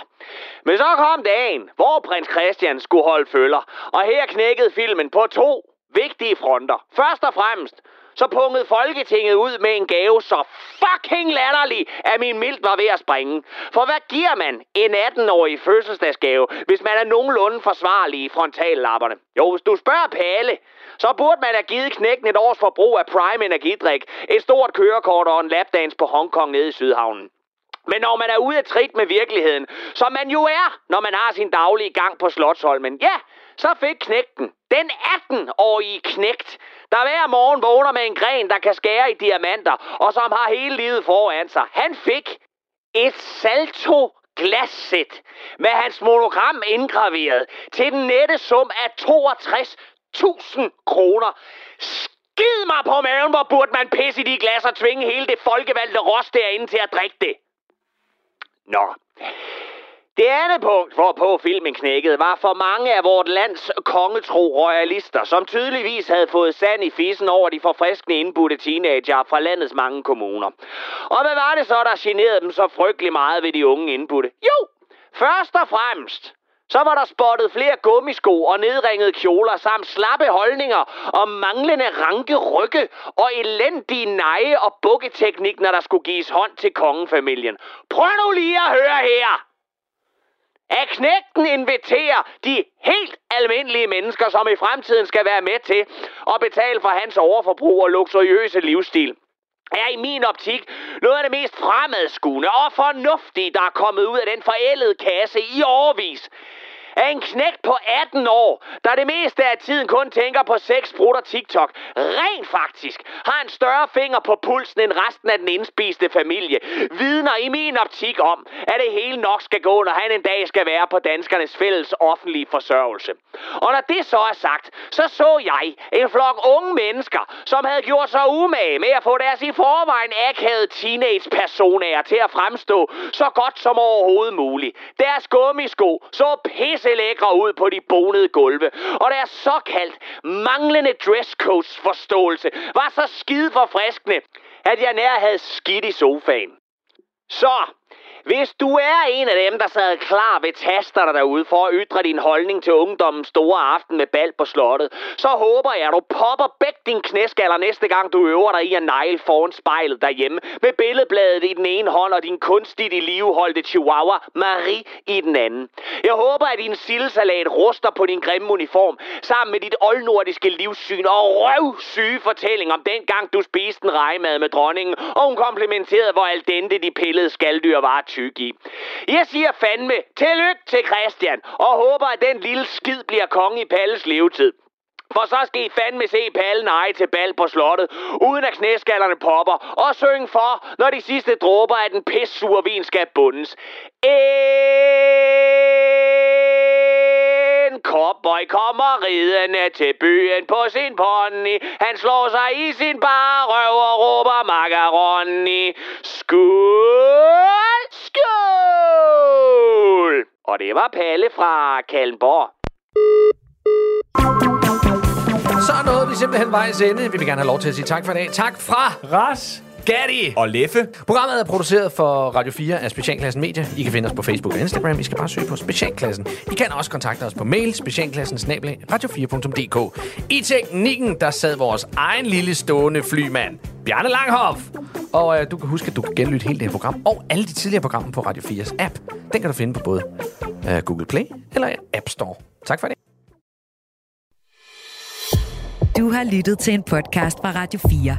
men så kom dagen, hvor prins Christian skulle holde følger, og her knækkede filmen på to vigtige fronter. Først og fremmest, så pungede Folketinget ud med en gave så fucking latterlig, at min mild var ved at springe. For hvad giver man en 18-årig fødselsdagsgave, hvis man er nogenlunde forsvarlig i frontallapperne? Jo, hvis du spørger Palle, så burde man have givet knækken et års forbrug af Prime Energidrik, et stort kørekort og en lapdance på Hongkong nede i Sydhavnen. Men når man er ude af trit med virkeligheden, som man jo er, når man har sin daglige gang på Slotsholmen, ja, så fik knægten, den 18-årige knægt, der hver morgen vågner med en gren, der kan skære i diamanter, og som har hele livet foran sig. Han fik et salto glassæt med hans monogram indgraveret til den nette sum af 62.000 kroner. Skid mig på maven, hvor burde man pisse i de glas og tvinge hele det folkevalgte ros derinde til at drikke det. Nå. Det andet punkt, hvorpå filmen knækkede, var for mange af vort lands kongetro royalister, som tydeligvis havde fået sand i fissen over de forfriskende indbudte teenager fra landets mange kommuner. Og hvad var det så, der generede dem så frygtelig meget ved de unge indbudte? Jo, først og fremmest, så var der spottet flere gummisko og nedringede kjoler samt slappe holdninger og manglende ranke rygge og elendige neje og bukketeknik, når der skulle gives hånd til kongefamilien. Prøv nu lige at høre her! At knægten inviterer de helt almindelige mennesker, som i fremtiden skal være med til at betale for hans overforbrug og luksuriøse livsstil er i min optik noget af det mest fremadskuende og fornuftige, der er kommet ud af den forældede kasse i årvis. Af en knægt på 18 år, der det meste af tiden kun tænker på sex, brud og TikTok, rent faktisk har en større finger på pulsen end resten af den indspiste familie, vidner i min optik om, at det hele nok skal gå, når han en dag skal være på danskernes fælles offentlige forsørgelse. Og når det så er sagt, så så jeg en flok unge mennesker, som havde gjort sig umage med at få deres i forvejen akavede teenage-personager til at fremstå så godt som overhovedet muligt. Deres gummisko så pisse lækre ud på de bonede gulve, og deres såkaldt manglende dresscodes forståelse var så skide forfriskende, at jeg nær havde skidt i sofaen. Så, hvis du er en af dem, der sad klar ved tasterne derude for at ytre din holdning til ungdommens store aften med bal på slottet, så håber jeg, at du popper begge din knæskaller næste gang, du øver dig i at negle foran spejlet derhjemme med billedbladet i den ene hånd og din kunstigt i liveholdte chihuahua Marie i den anden. Jeg håber, at din sildesalat ruster på din grimme uniform sammen med dit oldnordiske livssyn og røvsyge fortælling om dengang, du spiste en rejmad med dronningen, og hun komplimenterede, hvor al dente de pillede skalddyr var at tykke i. Jeg siger fandme, tillykke til Christian, og håber, at den lille skid bliver konge i Palles levetid. For så skal I fandme se pallen eje til bal på slottet, uden at knæskallerne popper, og synge for, når de sidste dråber af den pissure vin skal bundes. En cowboy kommer ridende til byen på sin pony. Han slår sig i sin bare røv og råber macaroni. Skål! Skål! Og det var Palle fra Kalmborg.
Så nåede vi simpelthen vejs ende. Vi vil gerne have lov til at sige tak for i dag. Tak fra
Ras
Gatti! Og Leffe.
Programmet er produceret for Radio 4 af Specialklassen Media. I kan finde os på Facebook og Instagram. I skal bare søge på Specialklassen. I kan også kontakte os på mail specialklassen radio4.dk. I teknikken, der sad vores egen lille stående flymand, Bjarne Langhoff. Og øh, du kan huske, at du kan genlytte hele det her program og alle de tidligere programmer på Radio 4's app. Den kan du finde på både øh, Google Play eller App Store. Tak for det.
Du har lyttet til en podcast fra Radio 4.